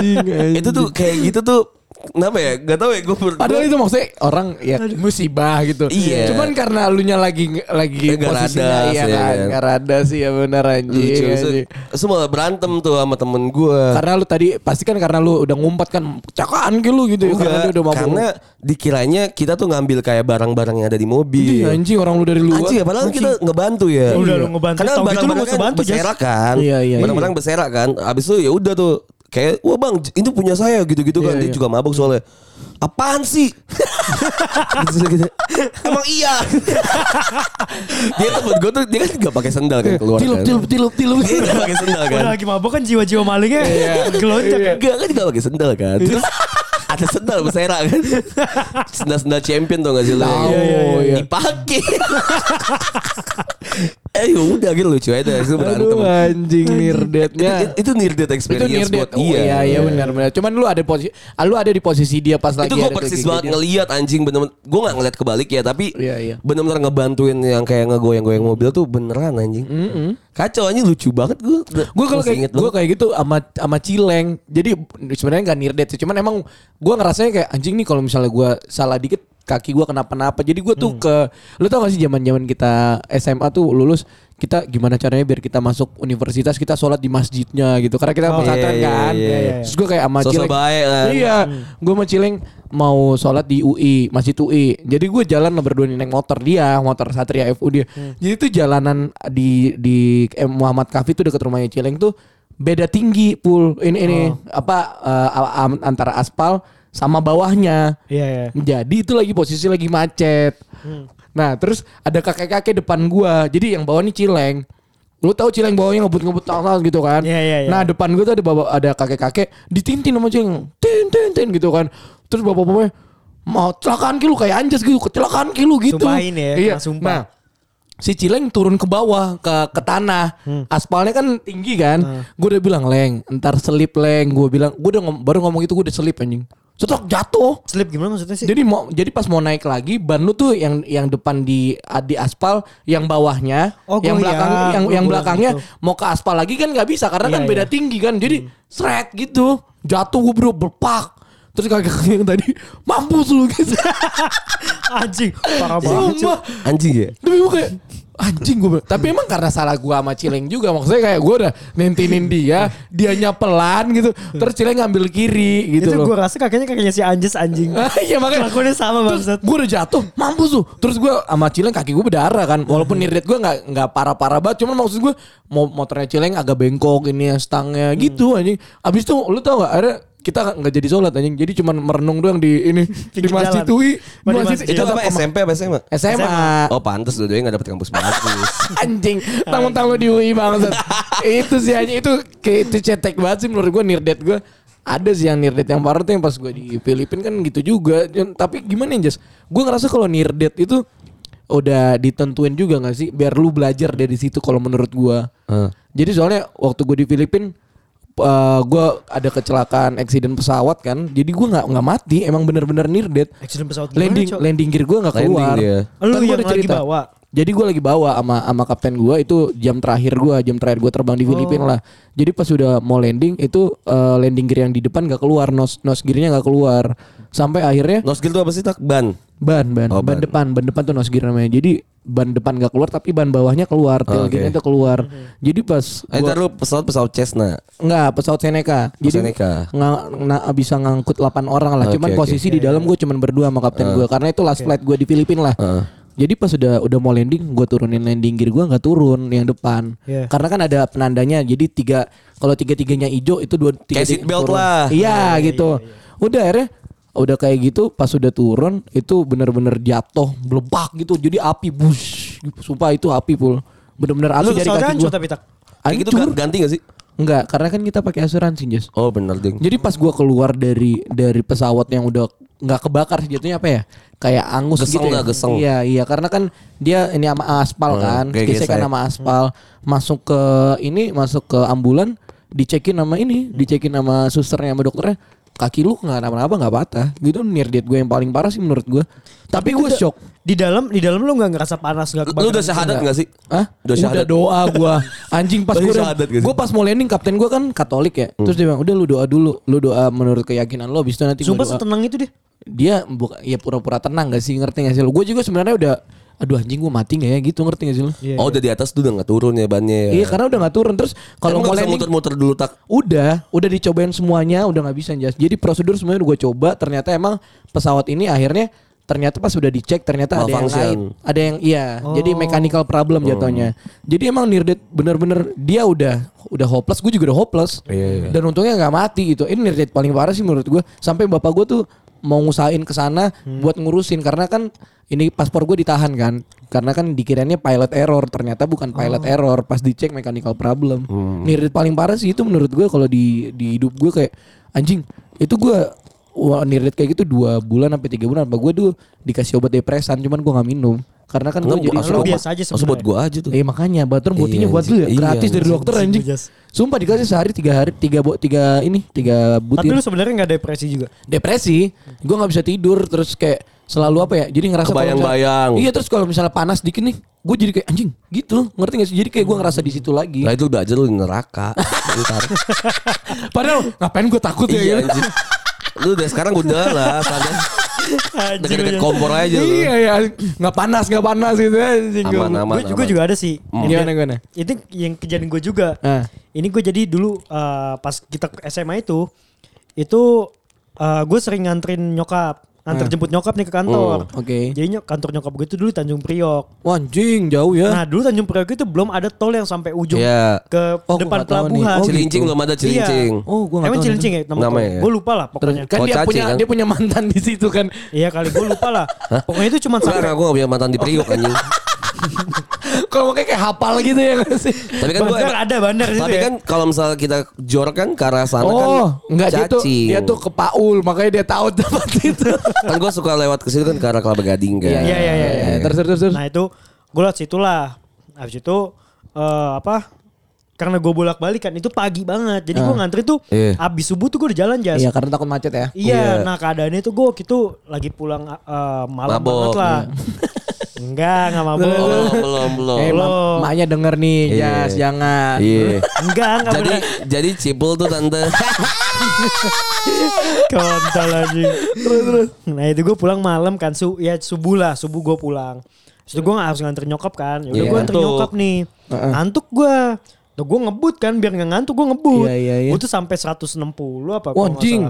B: gitu. Itu tuh kayak gitu tuh kenapa ya? Gak tau ya gue ber-
C: Padahal itu maksudnya orang ya musibah gitu.
B: Iya.
C: Cuman karena alunya lagi lagi
B: Ya, nggak
C: posisinya
B: radas, ya
C: iya kan,
B: kan.
C: nggak radas sih ya bener anjing.
B: lucu. So,
C: anjing.
B: so, malah berantem tuh sama temen gue.
C: Karena lu tadi pasti kan karena lu udah ngumpet kan cakaan ke lu gitu ya karena
B: Enggak,
C: dia udah mabuk.
B: karena dikiranya kita tuh ngambil kayak barang-barang yang ada di mobil.
C: Ih, anjing orang lu dari luar.
B: iya. Anjing ya padahal kita ngebantu ya.
D: Ya udah lu ngebantu,
B: Karena
D: tau gitu lu
B: barang-barang
D: gak usah
B: kan
D: bantu, Jas.
B: berserak kan.
C: Iya, iya,
B: Barang-barang berserak kan. Abis itu ya udah tuh kayak wah bang j- ini punya saya gitu-gitu kan
C: Iya,
B: dia
C: iya.
B: juga mabuk soalnya. Apaan
C: *laughs*
B: sih? Gitu, gitu. Emang iya. dia tuh buat gue tuh dia kan gak pakai sendal kan keluar
C: tilup,
B: kan.
C: tilup, tilup, tilup,
B: Dia gak pakai sendal kan. Iya,
D: Udah lagi mabok kan jiwa-jiwa malingnya gelonjak kan.
B: Enggak kan juga pakai sendal kan.
C: *laughs*
B: Terus ada sendal berserak kan. Sendal-sendal champion tau gak sih lu?
C: Tahu,
B: Iya, iya, iya.
C: iya.
B: Dipakai. *laughs* eh yaudah gitu lucu aja itu berantem.
C: Aduh anjing nirdetnya.
B: Itu- Itu near death
C: Itu
B: experience
C: nirdet.
B: buat
C: Oh,
B: dia.
C: iya, iya benar benar. Cuman lu ada posisi lu ada di posisi dia pas lagi
B: Itu gue
C: ada
B: persis
C: kayak
B: banget
C: gitu.
B: ngeliat anjing bener-bener Gue gak ngeliat kebalik ya Tapi
C: Iya, iya.
B: bener-bener ngebantuin yang kayak ngegoyang-goyang mobil tuh beneran anjing Kacau anjing lucu banget gue
C: Gue kalau kayak gue kayak gitu sama sama Cileng. Jadi sebenarnya nggak nirdet sih. Cuman emang gue ngerasanya kayak anjing nih kalau misalnya gue salah dikit kaki gue kenapa-napa. Jadi gue
B: Hmm.
C: tuh ke lu tau gak sih zaman-zaman kita SMA tuh lulus kita gimana caranya biar kita masuk universitas kita sholat di masjidnya gitu karena kita
D: Oh,
C: pesantren
B: iya, iya,
C: kan
B: iya,
D: iya.
C: terus gue kayak sama
B: Sosok
C: Cileng
B: baik kan.
C: iya gue sama Cileng mau sholat di UI masjid UI jadi gue jalan lah berdua nih, naik motor dia motor Satria FU dia jadi tuh jalanan di di eh, Muhammad Kafi tuh deket rumahnya Cileng tuh beda tinggi pul ini ini apa eh, a- a- antara aspal sama bawahnya
D: Iya iya. Hmm.
C: jadi itu lagi posisi lagi macet. Nah, terus ada kakek-kakek depan gua. Jadi yang bawah nih Cileng. Lu tahu Cileng bawahnya ngebut-ngebut tangan gitu kan.
D: Iya, iya, iya.
C: Nah, depan gue tuh ada bapak ada kakek-kakek ditintin sama Cileng. Tin tin tin gitu kan. Terus bapak-bapaknya mau celakaan ki lu kayak anjas gitu, kecelakaan ki lu gitu.
D: Sumpahin ya,
C: iya.
D: kena sumpah.
C: Nah, si Cileng turun ke bawah ke ke tanah
D: Hmm.
C: aspalnya kan tinggi kan gue udah bilang leng ntar selip leng gue bilang gue udah ngom- baru ngomong itu gue udah selip anjing cetok jatuh
D: Slip gimana maksudnya sih?
C: jadi mau jadi pas mau naik lagi ban lu tuh yang yang depan di di aspal yang bawahnya
D: Oh, gua
C: yang belakang
D: iya.
C: yang
D: Gua
C: yang
D: bilang
C: belakangnya
D: gitu.
C: mau ke aspal lagi kan nggak bisa karena
D: Iya,
C: kan beda
D: iya.
C: tinggi kan jadi seret gitu jatuh gue bro berpak terus kakek *laughs* yang tadi mampus lu gitu
D: Anjing, parah
B: Iya.
D: banget.
C: *laughs*
D: cuy.
C: Sumpah.
B: Anjing ya.
C: Tapi gue kayak anjing gue. bilang. Tapi emang karena salah gue sama Cileng juga maksudnya kayak gue udah nentinin
D: *laughs*
C: dia, dianya pelan gitu. Terus Cileng ngambil kiri gitu
D: itu
C: loh.
D: gue rasa kakeknya kakeknya si Anjes anjing.
C: *laughs* Iya makanya
D: Kelakuannya sama bangsat.
C: gue udah jatuh mampus tuh terus gue sama Cileng kaki gue berdarah kan walaupun
D: Hmm.
C: nirdet gue nggak nggak parah parah banget cuman maksud gue mau motornya Cileng agak bengkok ini ya stangnya
D: Hmm.
C: gitu anjing abis itu lu tau gak ada kita nggak jadi sholat anjing jadi cuman merenung doang di ini di
D: *laughs* Pinggir
C: masjid
D: jalan.
C: UI
D: Di
C: masjid
D: masjid.
B: Itu apa SMP apa SMA?
C: SMA
B: Oh pantas dua-duanya gak dapet kampus bagus.
C: *laughs* anjing tamu-tamu di UI banget itu sih hanya itu kayak itu cetek banget sih menurut gue nirdet gue ada sih yang nirdet yang parah tuh yang pas gue di Filipina kan gitu juga Dan- tapi gimana ya Jas gue ngerasa kalau nirdet itu udah ditentuin juga gak sih biar lu belajar dari situ kalau menurut gue
B: Heeh.
C: jadi soalnya waktu gue di Filipina gue ada kecelakaan eksiden pesawat kan jadi gue nggak nggak mati emang bener-bener nirdet
D: Accident pesawat gimana,
C: landing
D: Cok?
C: landing gear gue nggak
B: Landing iya.
C: keluar
B: dia.
C: Ntar
D: Lu
C: gua
D: yang
C: ada
D: lagi bawa?
C: jadi gue lagi bawa sama sama kapten gue itu jam terakhir gue jam terakhir gue terbang di Filipina
B: Oh.
C: lah jadi pas udah mau landing itu eh, landing gear yang di depan nggak keluar nos nos gearnya nggak keluar sampai akhirnya
B: Nosgil tuh apa sih tak? Ban.
C: ban ban
B: Oh,
C: ban
B: ban.
C: depan ban depan tuh nose gear namanya jadi ban depan nggak keluar tapi ban bawahnya keluar
B: Oh,
C: tailgate-nya
B: oke. Mhm.
C: tuh keluar jadi pas
B: Eh,
C: gua-
B: ntar lu pesawat pesawat nah. Cessna.
C: Enggak, pesawat Seneca. Jadi
B: Seneca. Ah,
C: nga- na- bisa ngangkut 8 orang lah.
B: Oke,
C: cuman
B: oke. Ah.
C: posisi di dalam gue cuman berdua sama kapten gue karena itu last flight gue di Filipina lah.
B: Heeh.
C: Jadi pas udah udah mau landing, gue turunin landing gear gue nggak turun yang depan.
D: Iya.
C: Karena kan ada penandanya. Jadi tiga kalau tiga tiganya hijau itu dua tiga
B: Kayak seat
C: tiga
B: belt
C: turun.
B: lah.
C: Iya gitu. Udah akhirnya udah kayak gitu pas udah turun itu bener-bener jatuh belebak gitu jadi api bus sumpah itu api pul bener-bener
D: Lu
C: api dari
D: pesawatnya
C: kaki
D: hancur
C: gue
D: tapi tak.
B: Kayak gitu
C: hancur
B: gan- ganti gak sih?
C: enggak karena kan kita pakai asuransi Jas
B: Oh bener ding.
C: jadi pas gua keluar dari dari pesawat yang udah nggak kebakar sih jatuhnya apa ya? Kayak angus
B: Geseng
C: gitu. ya.
B: nggak, geseng.
C: Iya, iya karena kan dia ini sama aspal
B: Hmm,
C: kan,
B: kayak
C: gesekan
B: gesek.
C: sama aspal, masuk ke ini masuk ke ambulan, dicekin sama ini, dicekin sama susternya sama dokternya. Kaki lu nggak kenapa-napa nggak patah. Gitu nirdet gue yang paling parah sih menurut gua. Tapi gua shock.
D: Di dalam di dalam lu nggak ngerasa panas nggak
B: Lu udah syahadat gak sih?
C: Hah?
B: Udah
C: Udah
B: syahadat.
C: doa
B: *laughs*
C: gua. Anjing pas
B: Tadi
C: gue
B: syahadat gak sih? Hmm.
C: Gue pas mau landing kapten gua kan Katolik ya. Terus dia bilang, "Udah lu doa dulu. Lu doa menurut keyakinan lo, habis itu nanti gua
D: Sumpah
C: doa."
D: setenang itu deh.
C: dia buka, ya pura-pura tenang gak sih ngerti gak sih lo? Gue juga sebenarnya udah aduh anjing gue mati gak ya gitu ngerti gak sih lo?
D: Iya,
B: Oh udah di atas tuh udah gak turun ya bannya ya.
C: Iya karena udah gak turun terus kalau
B: Emang
C: mau
B: nggak bisa
C: landing
B: muter-muter dulu tak.
C: udah udah dicobain semuanya udah nggak bisa Jas. Jadi prosedur semuanya gue coba ternyata emang pesawat ini akhirnya ternyata pas udah dicek ternyata ada yang
B: Malfunction.
C: lain ada yang iya jadi mechanical problem jatuhnya jadi emang nirdet bener-bener dia udah udah hopeless gue juga udah hopeless
B: Iya, iya.
C: dan untungnya nggak mati gitu ini nirdet paling parah sih menurut gue sampai bapak gue tuh mau ngusahain ke sana
B: Hmm.
C: buat ngurusin karena kan ini paspor gue ditahan kan karena kan dikiranya pilot error ternyata bukan
B: Oh.
C: pilot error pas dicek mechanical problem
B: Hmm.
C: nirdet paling parah sih itu menurut gue kalau di di hidup gue kayak anjing itu gue Wah, nirdet kayak gitu dua bulan sampai tiga bulan. Apa gue dulu dikasih obat depresan, cuman gua nggak minum karena kan gue
B: Enggak,
C: jadi
B: langsung
D: lu
B: buat-
D: biasa aja
B: Langsung buat
D: sebenarnya.
B: gua aja tuh.
C: Eh makanya butter botinya
B: Iya,
C: buat lu ya
B: anjing.
C: gratis
B: Iya,
C: dari
B: anjing.
C: dokter anjing.
D: Jas.
C: Sumpah dikasih sehari tiga hari tiga bo, tiga ini tiga
D: Tapi
C: butir.
D: lu sebenarnya nggak depresi juga.
C: Depresi, gua nggak bisa tidur terus kayak selalu apa ya? Jadi ngerasa kalau misalnya-
B: Kebayang-bayang.
C: Iya terus kalau misalnya panas dikit nih, gue jadi kayak anjing gitu. Ngerti gak sih? Jadi kayak gua ngerasa di situ lagi.
B: Nah itu belajar lu di neraka. Ntar.
C: *laughs* Padahal ngapain gue takut ya?
B: iya
C: ya?
B: anjing. Lu udah sekarang udah lah. santai. *laughs* Deket-deket kompor aja lu.
C: Iya ya, nggak panas nggak panas gitu anjing.
B: Aman aman.
D: Gue juga
B: aman.
D: juga ada sih.
B: Hmm.
C: Gimana gimana?
D: Itu yang kejadian gue juga.
C: Ah.
D: Ini gue jadi dulu eh, pas kita ke SMA itu, itu eh, gue sering nganterin nyokap, nganter
C: Ah.
D: jemput nyokap nih ke kantor.
B: Oh,
C: Hmm, oke.
D: Jadi nyok- kantor nyokap gue itu dulu di Tanjung Priok.
C: Wah, anjing jauh ya.
D: Nah dulu Tanjung Priok itu belum ada tol yang sampai ujung
B: Iya.
D: ke
C: Oh, gua
D: depan
C: nggak tahu nih.
D: pelabuhan. Iya.
C: Oh,
B: Cilincing belum ada cilincing.
C: Oh, gua nggak
D: Emang
C: tahu
D: cilincing ya nama
B: Namanya ya?
D: Gue lupa lah pokoknya.
C: kan
B: Oh,
C: dia
B: cacing
C: punya
B: kan?
C: dia punya mantan di situ kan. *laughs*
D: Iya kali gue lupa lah. Pokoknya itu cuma
B: Sekarang
D: sampai
B: aku gak punya mantan di Priok anjing.
C: Kalau makanya kayak hafal gitu ya nggak sih?
B: Tapi kan gua
D: Bandar ada bandar situ
B: Tapi
D: ya.
B: kan kalau misalnya kita jorok kan ke arah sana kan
C: Nah, Oh, enggak dia tuh
B: cacing.
C: dia tuh ke Paul, makanya dia tahu *laughs* tempat itu.
B: kan gue suka lewat ke situ kan ke arah Kelapa Gading kan.
D: Iya, iya, iya, iya.
C: Eh, Terus terus terus.
D: Nah itu gue lewat situ lah. Habis itu eh, apa? Karena gue bolak balik kan itu pagi banget. Jadi gue ngantri tuh
B: Iya.
D: abis subuh tuh gue udah jalan jas.
C: Iya
D: Iya.
C: karena takut macet ya.
B: Iya.
D: Nah keadaannya tuh gue waktu itu lagi pulang eh, malam
B: Mabok, Iya.
D: banget lah. Enggak, enggak
B: Oh,
D: mabok.
B: belum belum belum.
C: Eh, ma-
D: Belum.
C: maknya denger nih,
B: Iya.
C: Jas, jangan.
B: Iya.
D: Enggak, enggak
B: jadi
D: bener.
B: jadi cipul tuh tante.
D: Kontol aja. Nah itu gue pulang malam kan, su ya subuh lah, subuh gue pulang. Terus itu gue gak harus nganter nyokap kan, yaudah
C: Iya.
D: gue nganter
B: Ngantuk.
D: nyokap nih. Ngantuk gue, Tuh gue ngebut kan, biar gak ngantuk gue ngebut.
C: Iya, iya, iya.
D: Gue tuh sampai 160 apa
C: Wah, anjing.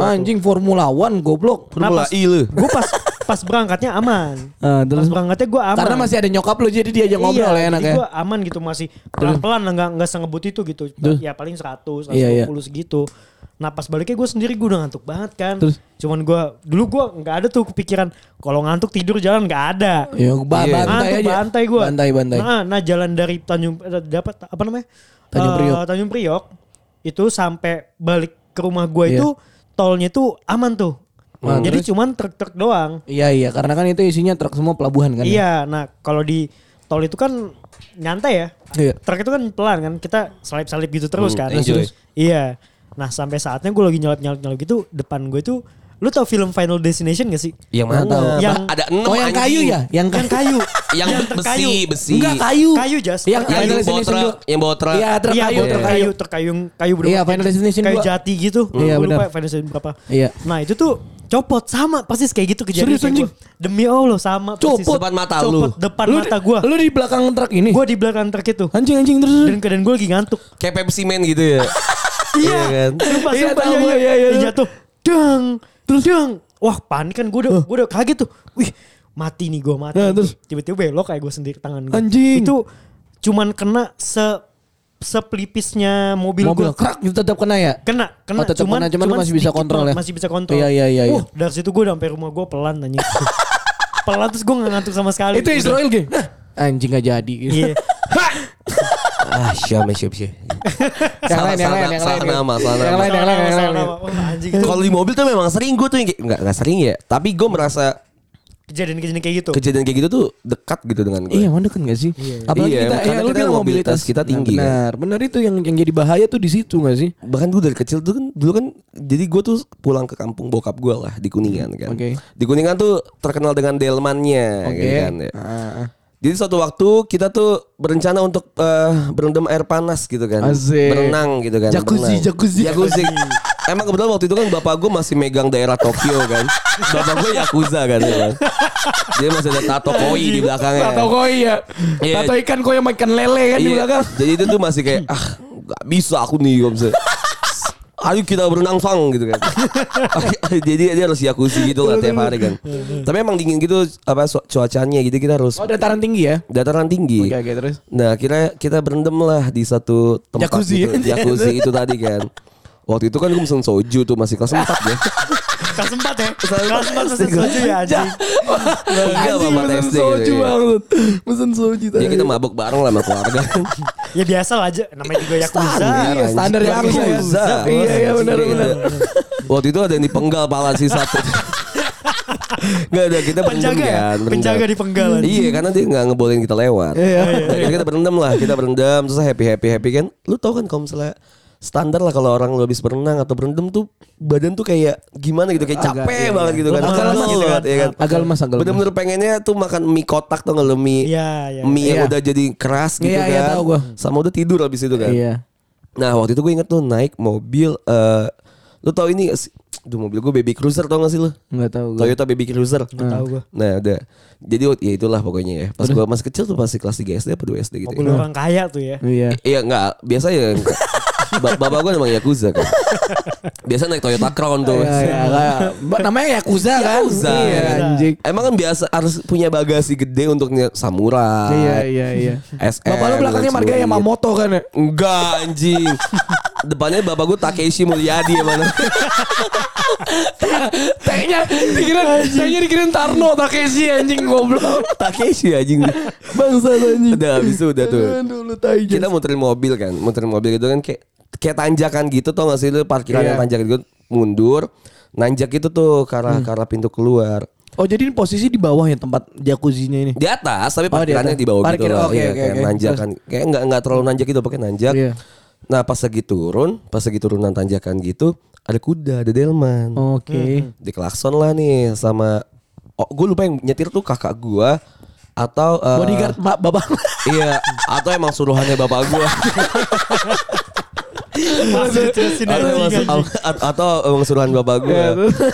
C: Anjing Formula One goblok.
B: Formula I lu.
D: Gue pas pas berangkatnya aman.
C: Eh,
D: Pas
C: terus-
D: berangkatnya gue aman.
C: Karena masih ada nyokap lu jadi dia aja ngobrol ya
D: iya,
C: enak
D: jadi
C: ya.
D: gue aman gitu masih pelan-pelan lah, nggak nggak sengebut itu gitu.
C: Terus?
D: Ya paling 100, 120
C: Iya, iya.
D: segitu. Nah pas baliknya gue sendiri gue udah ngantuk banget kan.
C: Terus?
D: Cuman gue dulu gue nggak ada tuh kepikiran kalau ngantuk tidur jalan nggak ada.
C: Ya ba-
B: Iya.
C: bantai
D: Ngantuk
C: aja.
D: bantai gue.
C: Bantai bantai.
D: Nah, nah, jalan dari Tanjung eh, dapat apa namanya?
C: Tanjung
D: Eh,
C: Priok.
D: Tanjung Priok itu sampai balik ke rumah
C: Iya.
D: gue itu tolnya tuh aman tuh.
C: Nah,
D: Jadi cuman truk-truk doang.
C: Iya iya karena kan itu isinya truk semua pelabuhan kan. ya?
D: Iya, nah kalau di tol itu kan nyantai ya.
C: Iya.
D: Truk itu kan pelan kan, kita salip-salip gitu terus
B: Hmm,
D: kan.
B: enjoy.
D: Iya. Nah sampai saatnya gue lagi nyelip-nyelip-nyelip gitu, depan gue tuh, lu tau film Final Destination gak sih?
B: Yang
C: Iya.
B: mana?
C: Tahu.
B: Yang
D: Iya. Yang-
B: ada enam
C: Oh yang
B: anjing.
C: kayu ya, yang
D: Yang
C: kayu.
D: kayu.
B: Yang, besi, besi.
C: Enggak kayu.
D: Kayu, Jas.
C: Yang
B: Yang
C: Final
B: bawa
C: Destination
B: truk,
C: dua.
B: yang bawa truk.
C: Iya, *laughs* truk
D: Iya,
C: kayu,
D: bawa
C: truk
D: truk
C: kayu.
D: kayu, truk kayu, kayu berempat.
C: Iya, Final Destination
D: Kayu
C: dua.
D: jati gitu.
C: Iya,
D: Gue lupa
C: benar.
D: Final Destination berapa.
C: Iya.
D: Nah itu tuh copot sama persis kayak gitu kejadian.
C: Serius, anjing?
D: Demi Allah sama persis.
B: Copot depan mata lu.
D: Copot depan
C: Lu di-
D: mata gue.
C: Lu di belakang truk ini.
D: Gue di belakang truk itu.
C: Anjing anjing terus. terus.
D: Dan keadaan gue lagi ngantuk.
B: Kayak Pepsi Man gitu ya.
D: Iya
B: kan?
D: Sumpah,
C: Iya,
D: sumpah,
C: tahu
D: iya,
C: gua,
D: iya,
C: iya, iya.
D: Dia jatuh. Dang. Terus dang. Wah panik kan gue udah, gua udah kaget tuh. Wih mati nih gue mati.
C: Nah, terus?
D: Tiba-tiba belok kayak gue sendiri tangan gue.
C: Anjing.
D: Itu cuman kena se sepelipisnya mobil,
C: Mobil
D: mobil. gue.
C: krak itu tetap kena ya.
D: Kena, kena.
C: Oh, tetap kena, cuman lu masih bisa
D: sedikit
C: kontrol
D: banget,
C: ya?
D: Masih bisa kontrol.
C: Iya, iya, iya, iya.
D: Wah, dari situ gue udah sampai rumah gue pelan
C: *laughs*
D: anjing. pelan terus gue gak ngantuk sama sekali.
C: Itu Israel gini. Nah, Anjing gak jadi. *laughs*
D: Iya.
B: ah, syam, syam, syam.
C: Yang lain, yang lain, yang lain.
B: Salah nama, salah
C: Yang
B: nama.
C: lain, yang lain, yang
D: Salah
C: lain.
D: nama, wah, Anjing. Itu
B: Kalau di mobil tuh memang sering gue tuh yang kayak, enggak, enggak sering ya. Tapi gue merasa
D: Kejadian-kejadian kayak gitu.
B: kejadian kayak gitu tuh dekat gitu dengan gue.
C: Iya, mana kan gak sih? Apalagi
B: Iya,
C: kita, ya,
B: karena
C: lu
B: kita
C: bilang
B: mobilitas kita tinggi,
C: Nah, benar, benar itu yang yang jadi bahaya tuh di situ gak sih?
B: bahkan gue dari kecil tuh kan dulu kan jadi gue tuh pulang ke kampung bokap gue lah di kuningan kan
C: Oke.
B: di kuningan tuh terkenal dengan delmannya gitu kan ya.
C: Ah, ah.
B: jadi suatu waktu kita tuh berencana untuk eh, berendam air panas gitu kan
C: Asik.
B: berenang gitu kan
C: Jacuzzi,
B: berenang.
C: jacuzzi.
B: jacuzzi emang kebetulan waktu itu kan bapak gue masih megang daerah Tokyo kan bapak gue yakuza kan ya kan. dia masih ada tato koi di belakangnya
C: Tato koi ya.
B: Iya.
C: Tato ikan koi sama ikan lele kan di
B: Iya,
C: belakang.
B: Jadi itu tuh masih kayak ah nggak bisa aku nih kalau
C: *laughs*
B: misalnya. Ayo kita berenang sang gitu kan. Jadi dia harus yakusi gitu lah tiap hari kan. Tapi emang dingin gitu apa su- cuacanya gitu kita harus
C: Oh, dataran tinggi ya.
B: dataran tinggi.
C: Oke, oke, terus.
B: Nah, kira kita berendam lah di satu tempat
C: Jacuzzi.
B: gitu. Jacuzzi itu tadi kan. Waktu itu kan gue pesen soju tuh masih kelas 4 ya.
D: Kelas empat ya. Kelas empat
C: *laughs*
D: sesuatu ya anjing.
B: Enggak
C: Anjing,
B: Bapak
C: mesen
B: SD
C: soju
B: gitu. ya.
C: banget. Mesen soju tadi.
B: Ya kita mabok bareng lah sama keluarga.
D: Ya biasa lah aja. Namanya juga Yakuza.
C: Iya,
B: anjing.
C: standar yang
B: Yakuza.
C: Yakuza. Iya, iya, benar,
B: Gitu.
C: benar.
B: Waktu itu ada yang dipenggal pala si satu. Enggak ada kita berendam
D: Penjaga ya?
B: kan, berendam.
D: Penjaga di penggalan.
B: Iya karena dia nggak ngebolehin kita lewat.
C: Iya.
B: Akhirnya kita berendam lah, kita berendam terus happy happy happy kan. Lu tau kan kalau misalnya standar lah kalau orang lu habis berenang atau berendam tuh badan tuh kayak gimana gitu kayak
C: Agak,
B: capek
C: iya,
B: banget gitu kan.
D: Lemas
B: Pegel
D: banget gitu
B: banget,
D: kan.
B: ya kan.
C: Agak lemas, agak lemas.
B: Bener-bener pengennya tuh makan mie kotak tuh nggak lu mie
D: Iya, iya.
B: mie yang
C: Iya.
B: udah jadi keras gitu
C: Iya,
B: kan.
C: iya, tahu gua.
B: Sama udah tidur habis itu kan.
C: Iya.
B: Nah waktu itu gue inget tuh naik mobil eh Lu tau ini gak sih? Duh mobil gue baby cruiser tau gak sih lu?
C: Enggak tahu Iya. gua.
B: Toyota baby cruiser Gak
D: tahu gua.
B: Nah udah Jadi ya itulah pokoknya ya Pas gue masih kecil tuh pasti kelas 3 SD apa 2 SD gitu ya.
D: Mobil orang kaya tuh ya.
C: Iya.
B: I- Iya enggak Biasa ya enggak. Ba- Bapak gue emang Yakuza kan Biasa naik Toyota Crown tuh
C: Iya, iya, agak- Ba- namanya Yakuza kan?
B: Yakuza.
C: Iya, anjing.
B: Emang kan biasa harus punya bagasi gede untuk nye- samurai
C: Iya, iya, iya.
B: SM
C: Bapak lu belakangnya marga
B: Yamamoto
C: Yamamoto kan ya?
B: Enggak anjing depannya bapak gue Takeshi Mulyadi emang.
C: T-nya dikira T-nya dikira Tarno Takeshi anjing goblok.
B: Takeshi anjing. Bangsa anjing. Udah habis itu udah tuh.
C: Dulu tai
B: Kita muterin mobil kan, muterin mobil gitu kan kayak kayak tanjakan gitu tau gak sih lu parkiran
C: Iya.
B: yang tanjakan gitu mundur nanjak itu tuh ke
C: Hmm.
B: arah, ke arah pintu keluar
C: Oh jadi ini posisi di bawah ya tempat jacuzzinya ini.
B: di atas tapi
C: Oh, di
B: parkirannya
C: atas.
B: di bawah
C: Parkir,
B: gitu loh
C: oke,
B: Iya,
C: oke,
B: kayak
C: oke.
B: nanjakan kayak nggak nggak terlalu nanjak gitu pakai nanjak
C: Iya.
B: nah pas lagi turun pas lagi turunan tanjakan gitu ada kuda ada delman
C: Oh. Oke.
B: dikelakson lah nih sama oh gue lupa yang nyetir tuh kakak gua atau eh,
C: Bodyguard Mbak Babang.
B: iya atau emang suruhannya bapak gua
D: Masih jelasin
B: atau, emang
C: iya,
D: anjing,
B: su-
D: anjing.
B: atau- atau emang suruhan bapak gua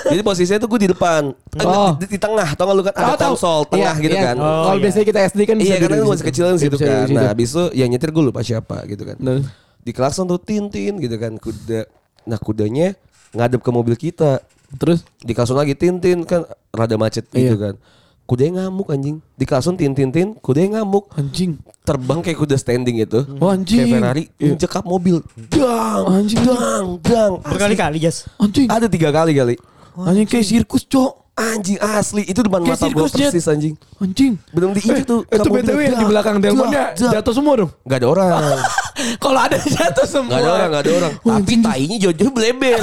B: jadi posisinya tuh gue di depan Eh,
C: Oh. Iya,
B: di, di tengah tau gak lu kan ada konsol tengah gitu kan
C: Kalau biasanya kita SD kan
B: iya
C: bisa
B: karena
C: duduk
B: gue
C: di
B: masih
C: situ.
B: kecil kan
C: Iya,
B: situ
C: bisa duduk
B: kan.
C: di situ.
B: Nah abis itu yang nyetir gue lupa siapa gitu kan.
C: Nah.
B: Di klakson tuh tin tin gitu kan kuda. Nah kudanya ngadep ke mobil kita.
C: Terus
B: Di klakson lagi tin tin kan rada macet
C: Iya.
B: gitu kan. Kudanya ngamuk anjing. Di klakson tin tin tin kudanya ngamuk.
C: anjing.
B: Terbang kayak kuda standing itu.
C: Oh, anjing.
B: Kayak Ferrari mencekap mobil. Dang,
C: Anjing.
B: dang, dang.
D: Berkali-kali Jas.
C: Anjing.
B: Ada tiga kali kali.
C: Anjing kayak sirkus, Cok.
B: Anjing asli itu depan
C: Kayak
B: mata gue
C: sirkus, Jet.
B: persis anjing.
C: Anjing.
B: Belum diinjek tuh.
C: Eh, Itu
B: kap mobil.
C: BTW yang di
B: Dak,
C: belakang
B: dak,
C: delmannya
B: dak.
C: jatuh semua dong.
B: Gak ada orang.
C: Kalau ada jatuh semua.
B: Gak ada orang, gak ada orang. Tapi tainya jojo bleber.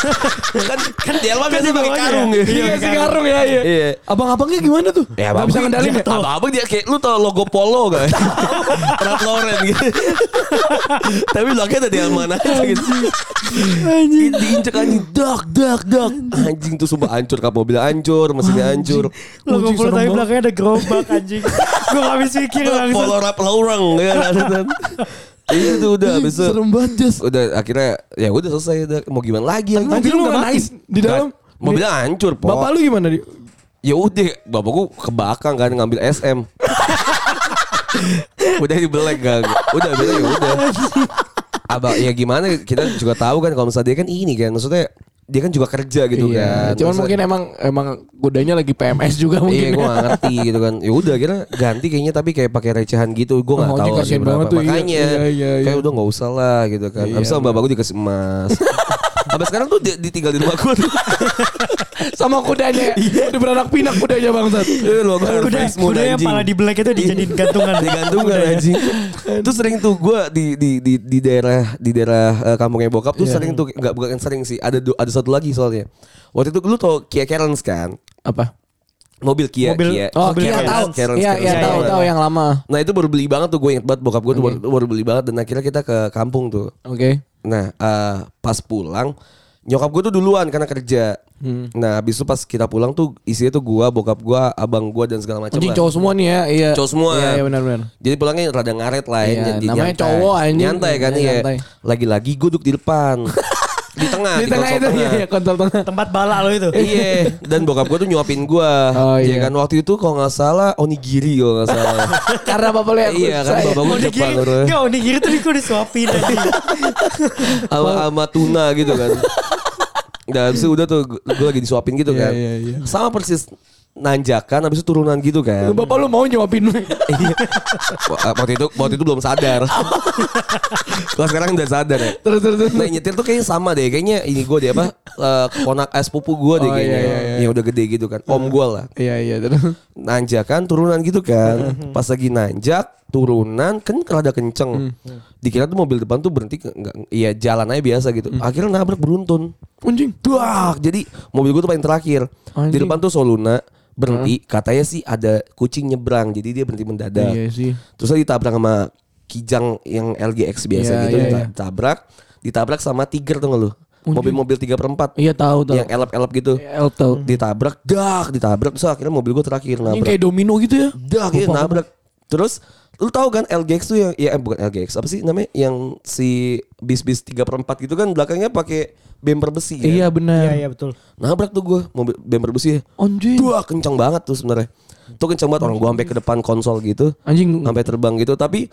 B: *laughs* kan kan Delma biasanya pakai
D: bawahnya
B: karung
D: ya?
B: ya.
C: Iya,
D: Iya,
C: si karung ya, iya.
B: Iya.
C: Abang-abangnya gimana tuh?
B: Ya,
C: Nggak
B: abang
C: bisa ngendalin ya?
B: Abang, abang dia kayak lu tau logo polo *laughs* gak? Ralph Lauren gitu. *laughs* Tapi belakangnya tadi yang mana aja gitu. Di- Diinjek anjing, dak dak dak. Anjing tuh sumpah hancur kap mobil hancur, mesinnya hancur.
D: Lo
C: Anjing,
D: ngumpul
C: serem
D: tapi
C: banget.
D: belakangnya ada gerobak *laughs* anjing. Gue gak habis pikir langsung.
B: Polo Ralph Lauren ya.
C: *laughs*
B: kan. Iya tuh udah habis itu.
C: Serem banget, Jas.
B: Udah akhirnya ya udah selesai udah mau gimana lagi yang
C: mobil lu
B: nggak
C: nggak
B: mati.
C: nice di dalam?
B: Nggak- Mobilnya hancur, Pok.
C: Bapak lu gimana? Di?
B: ya udah bapak gua kebakang kan ngambil SM
C: *laughs*
B: udah dibelek kan udah bilang ya udah abang ya gimana kita juga tahu kan kalau misalnya dia kan ini kan maksudnya dia kan juga kerja gitu kan
C: Iya, Cuman
B: Maksudnya-
C: mungkin emang emang kudanya lagi PMS juga
B: Iya
C: mungkin.
B: gue
C: ya.
B: gak ngerti gitu kan Ya udah kira ganti kayaknya tapi kayak pakai recehan gitu Gue gak tahu
C: Oh, anjing,
B: sih
C: kasihan
B: berapa.
C: banget tuh, iya.
B: Makanya
C: Iya, iya,
B: kayak
C: iya.
B: udah gak usah lah gitu kan Abis itu bapak gue dikasih
C: *laughs*
B: emas Abis sekarang tuh dia- ditinggal di rumah gue
C: *laughs* Sama
B: *laughs*
C: kudanya.
B: Iya.
C: Udah beranak pinak kudanya bangsat.
B: Lu gue
D: Kuda, kuda yang pala di black itu dijadiin
B: *laughs*
D: gantungan. ya.
B: digantungan kan,
C: ya.
B: anjing. Terus sering tuh gue di, di di di daerah di daerah eh, kampungnya bokap
C: Iya.
B: tuh sering tuh nggak bukan sering sih ada du- ada satu lagi soalnya. Waktu itu lu tau Kia Carens kan?
C: Apa?
B: Mobil Kia
D: Mobil-
B: ya? Kia. kan.
C: Oh,
D: Mobil
C: iya
D: Kia
C: tahu.
D: Carens,
B: Carens,
C: Iya,
B: Carens,
C: iya
B: Carens.
C: tahu, tahu yang lama.
B: Nah itu baru beli banget tuh gue inget banget bokap gue tuh baru, baru beli banget dan akhirnya kita ke kampung tuh.
C: Oke.
B: Nah eh, pas pulang nyokap gue tuh duluan karena kerja.
C: Hmm.
B: Nah habis itu pas kita pulang tuh isinya tuh gue, bokap gue, abang gue dan segala macam.
C: Anjing
B: lah.
C: cowok semua nih ya. Iya.
B: Cowok semua.
C: Iya, iya benar benar.
B: Jadi pulangnya rada ngaret lah ya.
C: Iya,
B: jadi
C: namanya
B: nyantai.
C: cowok, anjing.
B: Nyantai kan
C: Iya,
B: iya.
C: nyantai.
B: Lagi-lagi gue duduk di depan.
C: *laughs*
B: Nah, di tengah,
C: Di tengah
B: konsol
C: itu iya, iya kontol tengah.
D: Tempat bala lo itu.
B: Iya, dan bokap gue tuh nyuapin gue.
C: Oh,
B: Iya
C: iya.
B: kan waktu itu kalau nggak salah onigiri kalau nggak salah.
C: *laughs* Karena bapak lihat
B: iya kan
C: saya-
B: bapak gue Jepang
D: Onigiri,
B: bro.
D: enggak onigiri tuh gue disuapin anjing.
B: sama, sama tuna gitu kan. Dan habis itu udah tuh gue lagi disuapin gitu
C: Iya,
B: kan.
C: iya, iya.
B: Sama persis nanjakan habis itu turunan gitu kan.
C: Bapak lu mau nyuapin lu.
B: *laughs* Iya. waktu itu waktu itu belum sadar. Kalau sekarang udah sadar ya.
C: Terus terus terus.
B: Nah nyetir tuh kayaknya sama deh Kayaknya ini gue deh apa eh, Keponak es pupu gue deh
C: Oh,
B: kayaknya
C: iya, iya, iya.
B: Yang udah gede gitu kan Om gue lah
C: Iya, iya terus.
B: Nanjakan turunan gitu kan Pas lagi nanjak Turunan Kan rada kenceng
C: Hmm.
B: Dikira tuh mobil depan tuh berhenti ke- nggak Iya jalan aja biasa gitu
C: Hmm.
B: Akhirnya nabrak beruntun
C: Anjing.
B: Duak Ah, Jadi mobil gue tuh paling terakhir Di
C: Anjing.
B: depan tuh Soluna Berhenti Katanya sih ada kucing nyebrang Jadi dia berhenti mendadak
C: Iya sih.
B: Terus dia ditabrak sama kijang yang LGX biasa
C: Iya,
B: gitu
C: iya,
B: dita-
C: iya.
B: ditabrak, ditabrak sama Tiger tuh nggak lu. Mobil-mobil 3 per 4
C: Iya tahu tahu.
B: yang elap-elap gitu.
C: El tahu.
B: Ditabrak, dak, ditabrak. Terus akhirnya mobil gue terakhir
C: Ini
B: nabrak.
C: kayak domino gitu ya.
B: Dak, iya, nabrak. Terus lu tahu kan LGX tuh yang ya eh, bukan LGX apa sih namanya yang si bis-bis 3 per 4 gitu kan belakangnya pakai bemper besi kan?
C: Iya
D: Iya
C: benar.
D: iya betul.
B: Nabrak tuh gue mobil bemper besi ya.
C: Anjing.
B: Dua kencang banget tuh sebenarnya. Tuh kencang banget orang gue sampai ke depan konsol gitu
C: Anjing.
B: sampai terbang gitu tapi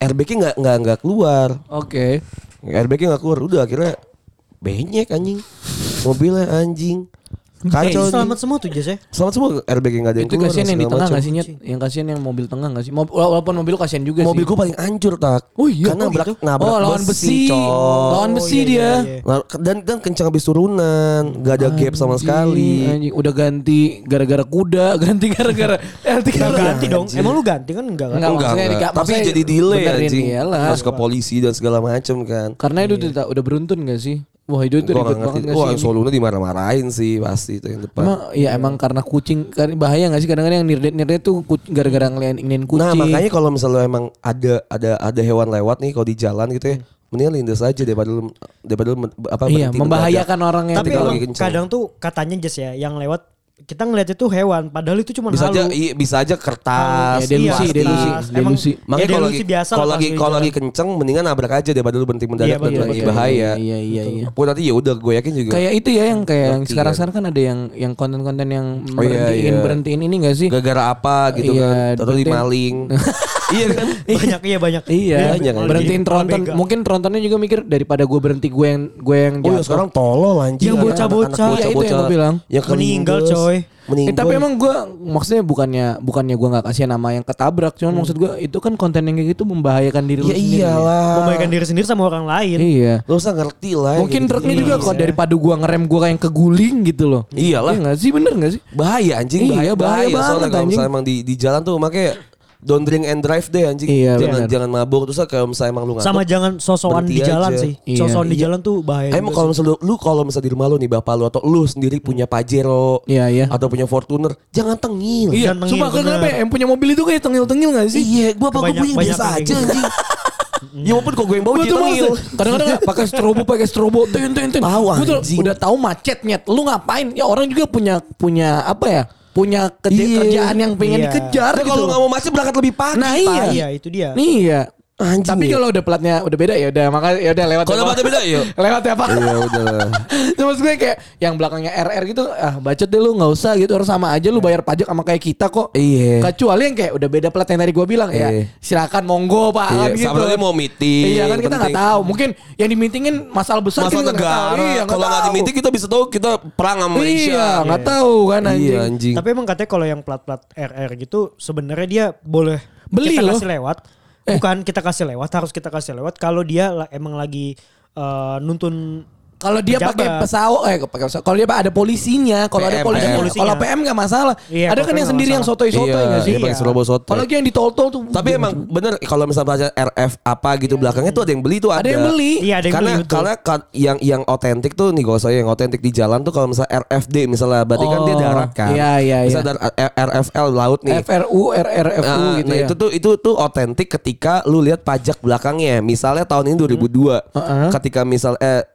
B: airbagnya nggak nggak nggak keluar
C: Oke.
B: airbagnya nggak keluar udah akhirnya benyek anjing mobilnya anjing Kacau.
D: Eh, selamat semua tuh Jas ya.
B: Selamat semua airbag yang gak ada yang
C: Itu
B: keluar.
C: kasihan yang di
B: segala
C: tengah
B: macam.
C: gak sih Nyet? Yang kasihan yang mobil tengah gak sih? Mob- Walaupun mobil lu kasihan juga
B: Mobil
C: sih.
B: gue paling hancur tak.
C: Oh iya,
B: Karena
C: kok
B: nabrak,
C: gitu?
B: nabrak
C: Oh, lawan besi.
B: Cok.
C: Lawan besi
D: iya,
C: dia.
D: iya, iya.
B: Lawan- Dan dan kencang habis turunan, gak ada gap sama
C: Anjing,
B: sekali.
C: anjing. udah ganti gara-gara kuda, *laughs* ganti gara-gara Eh, ganti
D: Nggak
C: gara-gara
D: ganti dong. Emang lu ganti kan enggak kan?
C: Nggak. maksudnya nggak-
B: Tapi
C: maksudnya
B: jadi delay
C: benerin,
B: anjing.
C: iyalah.
B: Harus ke polisi dan segala macem kan.
C: Karena itu udah, udah beruntun gak sih? Wah itu itu
B: Gue
C: ribet
B: gak
C: banget
B: ngerti.
C: gak
B: Wah,
C: sih? ini?
B: Soluna dimarah-marahin sih pasti itu yang depan.
C: Emang, ya emang karena kucing kan bahaya gak sih kadang-kadang yang nirdet-nirdet tuh ku- gara-gara ngeliatin kucing.
B: Nah
C: Iya,
B: makanya kalau misalnya emang ada ada ada hewan lewat nih kalau di jalan gitu ya, mendingan lindas aja daripada lu- daripada lu men- apa
C: Hmm. iya,
B: berhenti
C: membahayakan orang yang
D: Tapi
B: Ketika
D: emang
B: lagi kenceng.
D: kadang tuh katanya Jas ya yang lewat kita ngeliat itu hewan padahal itu cuma
B: mendadak. Bisa aja
D: halu.
B: iya, bisa aja kertas.
C: Ya, delusi,
B: plastik.
C: delusi,
D: Emang,
C: delusi.
B: Makanya
D: ya,
B: kalau
D: delusi
B: lagi
D: biasa
B: kalau
D: lah
B: lagi
D: pas
B: kalau
D: di
B: lagi kenceng mendingan nabrak aja daripada lu berhenti mendadak
D: Iya,
B: dan
D: betul,
B: berhenti
D: betul.
B: bahaya.
C: Iya, iya, iya.
B: Pun nanti ya udah gue yakin juga.
C: Kayak itu ya yang kayak yang
B: Ngerti,
C: sekarang sekarang kan ada yang yang konten-konten yang
B: Oh, iya,
C: berhentiin
B: iya.
C: berhentiin ini gak sih?
B: gara-gara apa gitu
C: Iya,
B: kan atau
C: berarti- *laughs*
B: dimaling. *laughs* iya kan?
D: jalan. *laughs* banyak iya banyak.
C: Iya,
B: Iya, jangan.
C: berhentiin tronton.
D: Mega.
C: Mungkin trontonnya juga mikir daripada gue berhenti gue yang gue yang iya,
B: Oh ya
C: jatuh.
B: sekarang tolol anjing.
D: Yang
B: Anak-anak
D: bocah-bocah.
C: Iya, itu yang
B: bocah-bocah
C: gua bilang.
B: yang kelindes.
D: Meninggal, coy.
C: Eh,
B: Meninggal. Iya,
C: tapi emang gue maksudnya bukannya bukannya gue nggak kasihan nama yang ketabrak, cuman maksud gue itu kan konten yang kayak gitu membahayakan diri lu
B: ya
C: sendiri.
B: iyalah.
D: Membaikan diri sendiri sama orang lain.
C: Iya.
B: Lu usah ngerti lah. ya, gitu. yang
C: Mungkin
B: gitu-gitu.
C: truknya juga kok daripada gua ngerem gua kayak yang keguling gitu loh.
B: Iya. Iyalah.
C: Iya gak sih bener gak sih?
B: bahaya anjing bahaya
C: Iya, bahaya
B: bahaya, soalnya
C: banget,
B: kalau
C: anjing.
B: misalnya emang di di jalan tuh makanya don't drink and drive deh anjing
C: Iya,
B: jangan
C: benar.
B: jangan mabuk terus kalau misalnya emang lu nggak
D: Sama jangan sosokan di
B: Berhenti
D: jalan
B: aja.
D: sih.
C: Iya.
D: Sosokan di
C: Iya.
D: jalan tuh bahaya.
B: Emang
D: juga
B: kalau misalnya lu, lu kalau misalnya di rumah lu nih bapak lu atau lu sendiri punya Pajero
C: Iya, iya.
B: atau punya Fortuner jangan tengil.
C: Iya.
D: jangan
C: Cuma
D: tengil, bener.
C: kenapa ya, yang punya mobil itu kayak tengil-tengil gak sih?
B: Iya, gua apa
D: Kebanyak-
B: gue biasa
D: banyak
B: aja
C: *laughs*
D: yang
B: anjing. ya walaupun kok gue yang bawa
C: Gua
B: dia
C: tuh kan males
B: tengil.
C: tuh. kadang-kadang nggak pakai strobo pakai strobo ten ten ten.
B: Tahu,
C: Gua tuh
B: anjing.
C: udah tahu macetnya. Lu ngapain? Ya orang juga punya punya apa ya? Punya kerja-
B: Iya.
C: kerjaan yang pengen
D: Iya.
C: dikejar
B: Nah,
C: gitu.
B: kalau
C: loh.
B: nggak mau macet berangkat lebih pagi.
C: nah
B: Pak.
C: iya.
D: Iya, itu dia.
C: Nih iya.
B: Anjing,
C: Tapi
B: iya.
C: kalau udah platnya udah beda ya udah maka ya udah lewat.
B: Kalau
C: ya, Pak.
B: platnya beda, yuk.
C: *laughs* lewat ya Pak.
B: Iya udah. lah.
C: Terus *laughs* maksud gue kayak yang belakangnya RR gitu ah bacot deh lu nggak usah gitu harus sama aja lu bayar pajak sama kayak kita kok.
B: Iya.
C: Kecuali yang kayak udah beda plat yang tadi gue bilang
B: Iya.
C: ya. Silakan monggo Pak
B: Iya,
C: kan gitu.
B: sama lagi mau meeting,
C: Iya kan kita nggak
B: penting.
C: tahu. Mungkin yang dimitingin masalah besar
B: Masalah
C: kita nggak tahu.
B: negara.
C: Iya,
B: ya? kalau nggak
C: tahu.
B: dimiting kita bisa tahu kita perang sama Malaysia.
C: Iya nggak tahu kan anjing.
B: Iya anjing.
D: Tapi emang katanya kalau yang plat-plat RR gitu sebenarnya dia boleh
C: Beli
D: kita
C: loh. Eh.
D: kasih lewat. Bukan kita kasih lewat, harus kita kasih lewat kalau dia la- emang lagi eh, nuntun
C: Kalau dia
D: pejabat.
C: pakai pesawat, eh pakai pesawat. Kalau dia pak- ada polisinya, kalau ada
B: PM.
C: polisinya,
D: Polisinya.
C: kalau PM nggak masalah. ada
D: Iya, kalau
C: kan
D: PM
C: yang
D: nggak
C: sendiri yang
D: masalah.
C: sotoy-sotoy nggak sih?
B: Iya, pakai strobo sotoy.
C: Apalagi yang di tol-tol tuh. gitu.
B: Tapi emang bener kalau misalnya baca RF apa gitu belakangnya tuh ada yang beli tuh ada.
C: ada yang beli.
D: Iya, ada yang
B: karena
D: beli, betul.
B: karena ka- yang yang otentik tuh nih saya yang otentik di jalan tuh kalau misalnya RFD misalnya berarti kan dia
C: Oh,
B: darat kan.
C: iya, iya,
B: Bisa
C: iya.
B: dar R- RFL laut nih.
C: FRU, RRFU
B: Nah,
C: gitu
B: nah,
C: ya.
B: itu tuh itu tuh otentik ketika lu lihat pajak belakangnya. Misalnya tahun ini 2002.
C: Heeh.
B: Ketika misal eh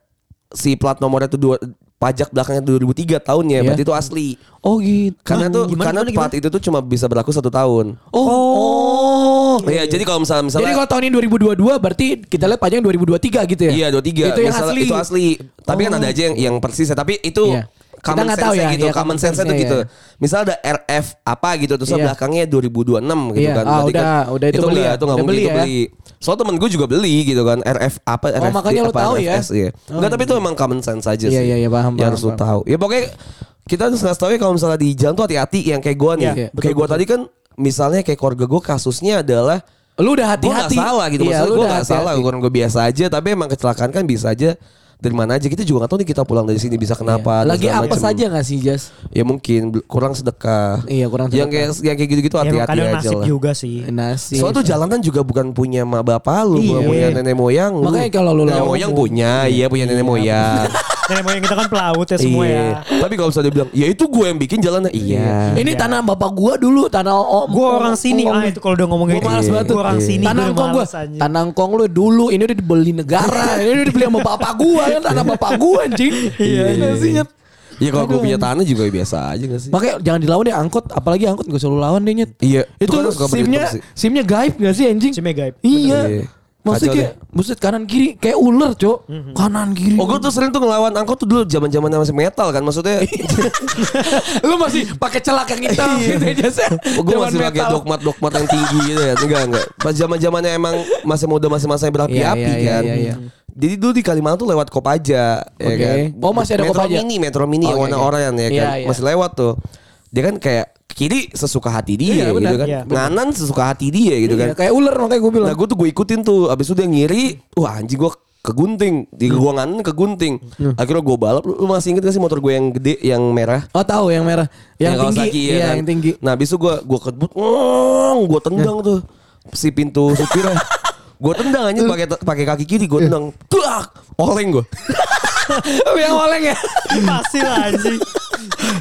B: si plat nomornya tuh dua, pajak belakangnya 2003 tahunnya
C: Iya.
B: berarti itu asli.
C: Oh gitu.
B: Karena tuh
D: gimana,
B: karena
D: gimana,
B: plat itu tuh cuma bisa berlaku satu tahun.
C: Oh. oh.
B: Iya, jadi kalau misalnya misalnya
C: Jadi kalau tahun ini 2022 berarti kita lihat pajaknya 2023 gitu ya?
B: Iya 23
C: Itu yang
B: Misalnya
C: asli. Oh.
B: Itu asli Tapi kan ada aja yang, yang persis ya Tapi itu
C: Iya. Kita
B: Common
C: nggak
B: sense
C: tahu ya,
B: gitu
C: iya,
B: Common
C: common
B: sense itu
C: sense-nya,
B: gitu
C: iya.
B: Misal ada RF apa gitu Terus
C: Iya.
B: belakangnya 2026 gitu
C: Iya.
B: kan
C: Ah,
B: Berarti kan
C: udah, udah itu beli
B: nggak- Itu
C: ya.
B: nggak
C: Udah
B: mungkin
C: beli
B: itu
C: ya. Oh,
B: beli Soalnya temen gue juga beli gitu kan RF apa RF
C: makanya lo
B: apa,
C: tahu ya.
B: RFS, iya. Nggak, tapi itu emang common sense aja sih
C: Iya, iya, iya, paham,
B: Ya
C: paham,
B: harus lo
C: paham.
B: tahu Ya pokoknya Kita harus ngasih tau ya Kalau misalnya di jalan tuh hati-hati Yang kayak gue nih
C: Iya, iya,
B: Kayak gue tadi kan Misalnya kayak keluarga gue kasusnya adalah
C: Lu udah
B: gue gak
C: hati-hati.
B: salah gitu
C: Iya,
B: maksudnya
C: lu
B: gue
C: udah
B: gak salah
C: hati-hati.
B: ukuran gue biasa aja tapi emang kecelakaan kan bisa aja dari mana aja kita juga gak tahu nih kita pulang dari sini bisa kenapa dan
C: Iya. Lagi
B: segala
C: apa
B: macem.
C: saja gak sih Jas?
B: ya mungkin bel- kurang sedekah
C: Iya, kurang
B: yang kayak yang kayak gitu-gitu
D: ya, emang
B: hati-hati
D: kadang
B: aja
D: nasib
B: lah
D: juga sih.
C: Nasi.
B: Soalnya tuh jalanan juga bukan punya mak bapak lu, bukan
D: Iya.
B: punya nenek moyang lu.
C: Makanya kalau lu
B: nenek
C: lewat-
B: moyang punya, iya punya nenek
C: *laughs*
B: moyang.
D: Nenek moyang kita kan pelaut ya semua ya.
B: Iya. Tapi kalau misalnya dia bilang, ya itu gue yang bikin jalannya. Iya.
C: Ini tanah bapak gua dulu, tanah om.
D: Gue orang sini,
C: om-
D: ah itu kalau udah ngomongin
C: Gua malas banget tuh.
D: orang sini
C: tanah
D: gue
C: angkong gua.
D: males anjing.
C: Tanah angkong lu dulu ini udah dibeli *laughs* negara. ini udah dibeli sama bapak gua, ya tanah bapak gua anjing. Iya, sih. Nyet?
B: Ya kalau gue
C: Aduh,
B: punya tanah juga biasa aja gak sih?
C: Makanya jangan dilawan ya angkot, apalagi angkot gak usah lu lawan deh Nyet.
B: Iya.
C: Itu
B: kan suka berdebat
C: simnya
B: sih.
C: simnya gaib gak sih anjing?
D: Simnya gaib,
B: bener. Iya.
C: Iya. Maksudnya
B: Kacau
C: kayak, buset kanan kiri kayak ular, Cok. Kanan kiri.
B: Oh gue tuh sering tuh ngelawan angkot tuh dulu zaman zamannya masih metal kan maksudnya
C: *laughs* Iya, lu masih pakai celak yang hitam gitu aja sih.
B: gue Iya. Oh, masih pakai dogmat dogmat yang tinggi gitu ya enggak enggak pas zaman zamannya emang masih muda masih masa yang berapi-api
C: Iya, iya,
B: kan
C: iya, iya.
B: Jadi dulu di Kalimantan tuh lewat Kopaja, ya
C: Oke.
B: kan?
C: Oh, masih ada
B: Metro
C: Kopaja?
B: Mini, Metro Mini yang
C: Oh,
B: warna
C: iya, iya.
B: oranye ya kan,
C: Iya, iya.
B: masih lewat tuh. Dia kan kayak ke kiri sesuka hati dia
C: Iya,
B: gitu
C: benar.
B: kan,
D: Iya.
B: nganan sesuka hati dia gitu kan.
C: Iya, kayak ular makanya gue bilang.
B: Nah gue tuh gue ikutin tuh Abis itu dia ngiri Wah anjing gue kegunting Di
C: Hmm.
B: gua nganan kegunting Akhirnya gue balap Lu lu masih inget gak sih motor gue yang gede Yang merah
C: Oh tahu yang merah, yang, tinggi,
B: Kawasaki, ya
C: iya,
B: kan?
C: yang
B: *laughs*
C: tinggi.
B: Nah
C: Nah.
B: abis itu gue gue kebut Gue tendang tuh Si pintu
C: *laughs*
B: supirnya Gue tendang aja pakai pakai kaki kiri
C: Iya.
B: gue tendang Tuak Oleng gue
C: *laughs* yang oleng ya.
D: Pasti lah anjing.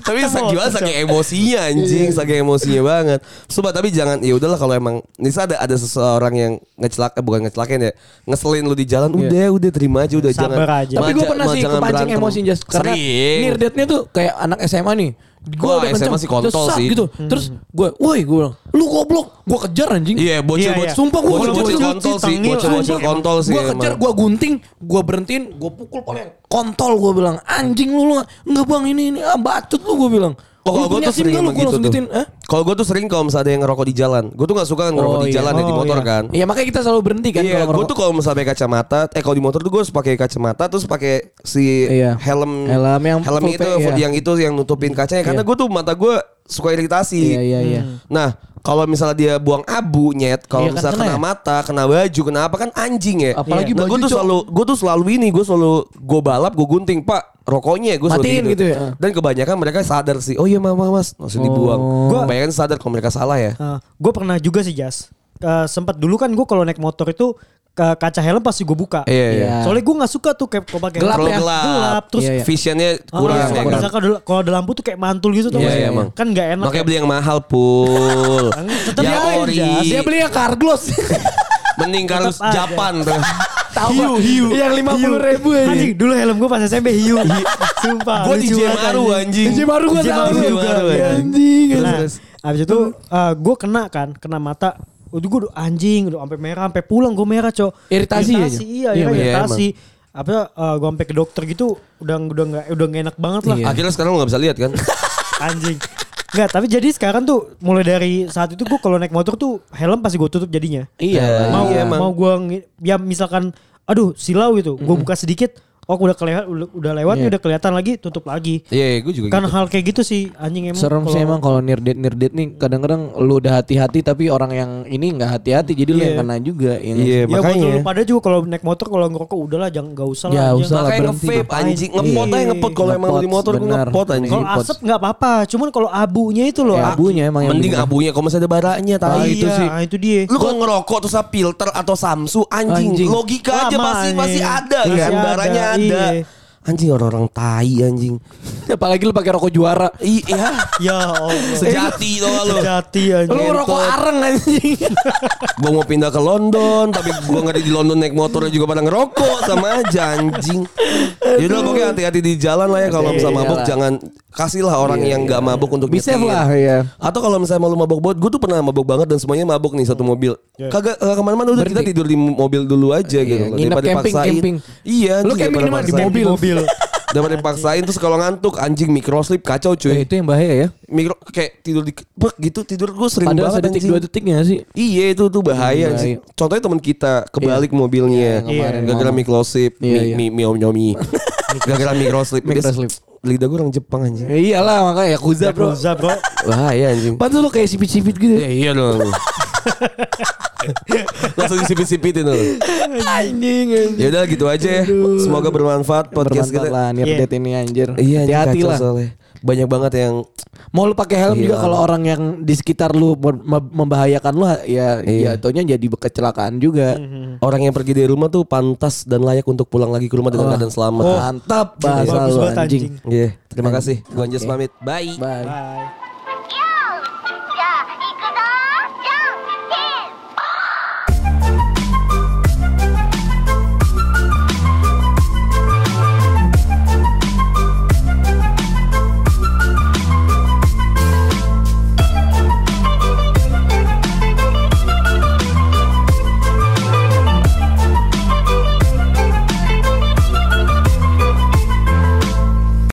B: Tapi
D: Kita mau
B: saking gimana
D: kacau.
B: saking emosinya anjing
C: Iya.
B: Saking emosinya banget Coba tapi jangan Ya udahlah kalau emang Nisa ada ada seseorang yang ngecelak eh, Bukan ngecelakain ya Ngeselin lu di jalan Udah udah terima aja udah
D: Sabar
B: jangan
D: aja.
C: Iya. Tapi gue
B: maja-
C: pernah
B: ma-
C: sih
B: jangan
C: kepancing
B: berantem.
C: emosi just karena
B: Sering.
C: near death-nya tuh kayak anak SMA nih. Gue
B: Wah,
C: udah
B: SMA
C: kenceng,
B: sih kontol
C: terus sak
B: sih. Hmm.
C: gitu. Terus gue, woi gue bilang, lu goblok, gue kejar anjing.
B: Iya bocil
D: Iya, iya.
B: bocil
C: Sumpah, gua
B: bocil bocil
C: bocil-bocil
B: kontol sih
D: ditengil,
B: Bocil bocil
D: anjing.
B: kontol sih
C: Gue kejar,
B: emang.
C: gue gunting, gue berhentiin, gue pukul paling kontol gue bilang, anjing lu lu enggak bang ini ini ah batut lu gue bilang.
B: Oh, kalau
C: Lu
B: gue
C: punya
B: tuh
C: SIM
B: sering
C: nggak lu? Gua
B: begitu
C: langsung
B: tuh.
C: gituin, "Eh?" "Hah?"
B: Kalau gue tuh sering kalau misalnya ada yang ngerokok di jalan. Gue tuh gak suka ngerokok
C: Oh,
B: di
C: iya.
B: jalan ya di
D: Oh,
B: motor
D: iya.
B: kan.
C: Iya makanya kita selalu berhenti kan.
B: Iya,
C: kalau
B: gue
C: ngerokok.
B: tuh kalau misalnya pakai kacamata, eh kalau di motor tuh gue harus pakai kacamata terus pakai si
C: Iya.
B: helm
C: Helm yang
B: helm
C: full
B: itu
C: face, iya.
B: yang itu yang nutupin kacanya karena gue tuh mata gue suka iritasi.
C: Iya iya iya.
B: Nah, kalau misalnya dia buang abu nyet, kalau
C: Iya kan,
B: misalnya
C: kena
B: kena
C: ya?
B: mata, kena baju, kena apa kan anjing ya.
C: Apalagi
B: nah, gue
C: baju,
B: tuh
C: Cok.
B: selalu gue tuh selalu ini, gue selalu gue balap, gue gunting, Pak, rokoknya gue selalu Nah.
C: Matiin gitu ya?
B: Dan kebanyakan mereka sadar sih. Oh iya, Mama, Mas, langsung dibuang.
C: Oh.
B: Gue bayangin sadar kalau mereka salah ya.
D: gue Eh, pernah juga sih Jas. Eh, sempat dulu kan gue kalau naik motor itu ke kaca helm pasti gue buka.
B: Iya, iya.
C: Iya.
D: Soalnya gue nggak suka tuh kayak kalau pakai
C: Gelap
B: Terlalu
C: ya?
B: gelap.
D: Gelap, terus
B: terus
C: Iya, iya.
B: visionnya
D: Ah,
B: kurang ya
D: suka-
B: kan.
D: misalkan ada- kalau ada lampu tuh kayak mantul gitu tuh
B: Iya, iya, emang.
D: kan nggak enak.
C: ya?
B: Makanya beli yang mahal
C: *laughs*
B: pul.
D: Tetep
B: yang
D: aja,
B: ori.
C: Dia beli yang Carglass.
B: Mending harus
D: aja.
B: Japan tuh.
C: *laughs* Tahu hiu, hiu. Yang lima puluh ribu
D: ya.
C: aja.
D: Anjing
B: iya.
D: dulu helm gue pas SMP hiu. Sumpah.
B: Gue
D: lucu
B: DJ
D: banget,
B: Maru anjing.
C: DJ Maru gua
D: DJ
C: tahu.
D: Maru juga.
C: Iya.
B: anjing.
C: Anjing.
B: Terus,
D: Nah,
B: terus.
D: abis itu gue kena kan, kena mata. Udah gue anjing, udah sampai merah, sampai pulang gue merah cok.
C: Iritasi ya,
D: iritasi
C: Cok?
D: iya,
C: Iya,
D: iya,
B: iya,
D: iritasi. Apa gue sampai ke dokter gitu, udah udah nggak udah nggak enak banget lah,
C: Iya.
B: Akhirnya sekarang lu gak bisa lihat kan.
D: *laughs* anjing. Enggak, tapi jadi sekarang tuh mulai dari saat itu gue kalau naik motor tuh helm pasti gue tutup jadinya.
C: Iya.
B: Eh,
D: mau
B: iya, emang.
D: mau gue ya misalkan, aduh silau gitu, gue buka sedikit, oh udah kelihatan udah, udah lewat nih
C: Iya.
D: udah kelihatan lagi, tutup lagi.
B: Iya, gue juga
D: Kan hal kayak gitu sih anjing emang.
C: Serem sih
D: kalau-
C: emang kalau near dead near dead nih kadang-kadang lu udah hati-hati tapi orang yang ini nggak hati-hati jadi lu yang
D: Iya.
C: kena juga. ya
B: Iya,
C: nggak sih?
D: Ya
B: makanya.
D: botol lu pada juga kalau naik motor kalau ngerokok udahlah jangan nggak usah lah.
C: Ya,
D: anjing.
C: usah. Salah,
B: Makanya
C: berhenti
B: nge-vape
C: dong.
B: anjing. Ngepot aja
D: Iya.
B: ngepot kalau emang
C: Ngepot,
B: di motor gue
C: bener.
B: ngepot anjing.
D: Kalau
B: Ngepot.
D: asap nggak apa-apa, cuman kalau abunya itu loh.
C: Ya, abunya emang yang
B: Mending
C: bikin-
B: abunya kalau masih ada baranya tai.
D: Ah,
B: Iya.
D: itu sih. itu dia.
B: Lu kalau ngerokok terus ada filter atau Samsu anjing,
C: Anjing.
B: logika aja
D: Lama,
B: pasti
D: anjing.
B: pasti ada
D: Masih
B: kan
D: ada,
B: baranya ada.
D: iya.
B: Anjing orang-orang tai anjing.
C: *laughs* Apalagi lu pakai rokok juara.
B: Iya.
D: ya Allah.
B: *laughs* Sejati tau gak lu
D: Sejati
C: Lu
D: anjing.
C: rokok areng
B: *laughs*
C: anjing.
B: Gue mau pindah ke London Tapi gue gak ada di London naik motornya juga pada ngerokok Sama aja anjing Yaudah pokoknya hati-hati di jalan lah ya Kalau
C: Hati-hati Iya,
B: misalnya
C: di
B: mabok
C: jalan.
B: jangan Kasihlah orang yang gak mabok untuk
C: Bisa
B: nyetir.
C: lah, iya.
B: Atau kalau misalnya mau lu mabok buat Gue tuh pernah mabok banget dan semuanya mabok nih satu mobil Kagak eh, kemana-mana udah kita
C: Berhenti. Iya,
B: tidur di mobil dulu aja gitu loh
C: nginep
B: Daripada
C: camping,
B: paksain
C: camping.
B: Iya
C: Lu
B: anjing,
C: camping
B: daripada
C: di mana? Di
B: paksain.
C: mobil.
D: mobil.
B: Daripada paksain terus kalau ngantuk Anjing microslip kacau
C: Ya,
B: cuy
C: itu yang bahaya ya.
B: Mikro kayak tidur di bek gitu tidur gue sering
C: Padahal
B: banget
C: sedetik
B: anjing.
C: dua detiknya sih.
B: Iya itu tuh bahaya
C: Bahaya.
B: sih. Contohnya teman kita kebalik mobilnya,
C: Iya, kemarin
B: gara-gara
C: ngomong.
B: mikrosip,
C: Iya, iya.
B: mi, mi, miom
C: *laughs*
B: nyomi, gara-gara mikroslip. Dia-
C: Mikroslip.
B: Lidah gue orang Jepang anjing.
C: Ya, iyalah makanya Yakuza bro.
D: Yakuza, bro.
B: Bahaya anjing.
C: Pantes lu kayak sipit-sipit gitu.
B: Ya, iya dong. *laughs* Langsung disipit-sipitin loh.
C: Anjing. anjing.
B: Ya udah gitu aja ya. Semoga bermanfaat podcast gitu.
C: Bermanfaat
B: kita.
C: lah near
D: Iya.
C: dead ini anjir.
B: Iya, anjing,
C: Hati-hati
B: kacau
C: lah.
B: soalnya. Banyak banget yang
C: Mau lu pakai helm
B: Iya.
C: juga kalau orang yang di sekitar lu mem- membahayakan lu ya
B: Iya.
C: jatuhnya jadi kecelakaan juga.
B: orang yang pergi dari rumah tuh pantas dan layak untuk pulang lagi ke rumah
C: Oh.
B: dengan keadaan selamat.
C: Mantap bahasa
D: Bagus
C: lu
D: banget,
C: anjing.
D: anjing.
B: Iya, terima kasih. Gue Anjas
C: Oke.
B: pamit. Bye.
C: Bye.
D: Bye.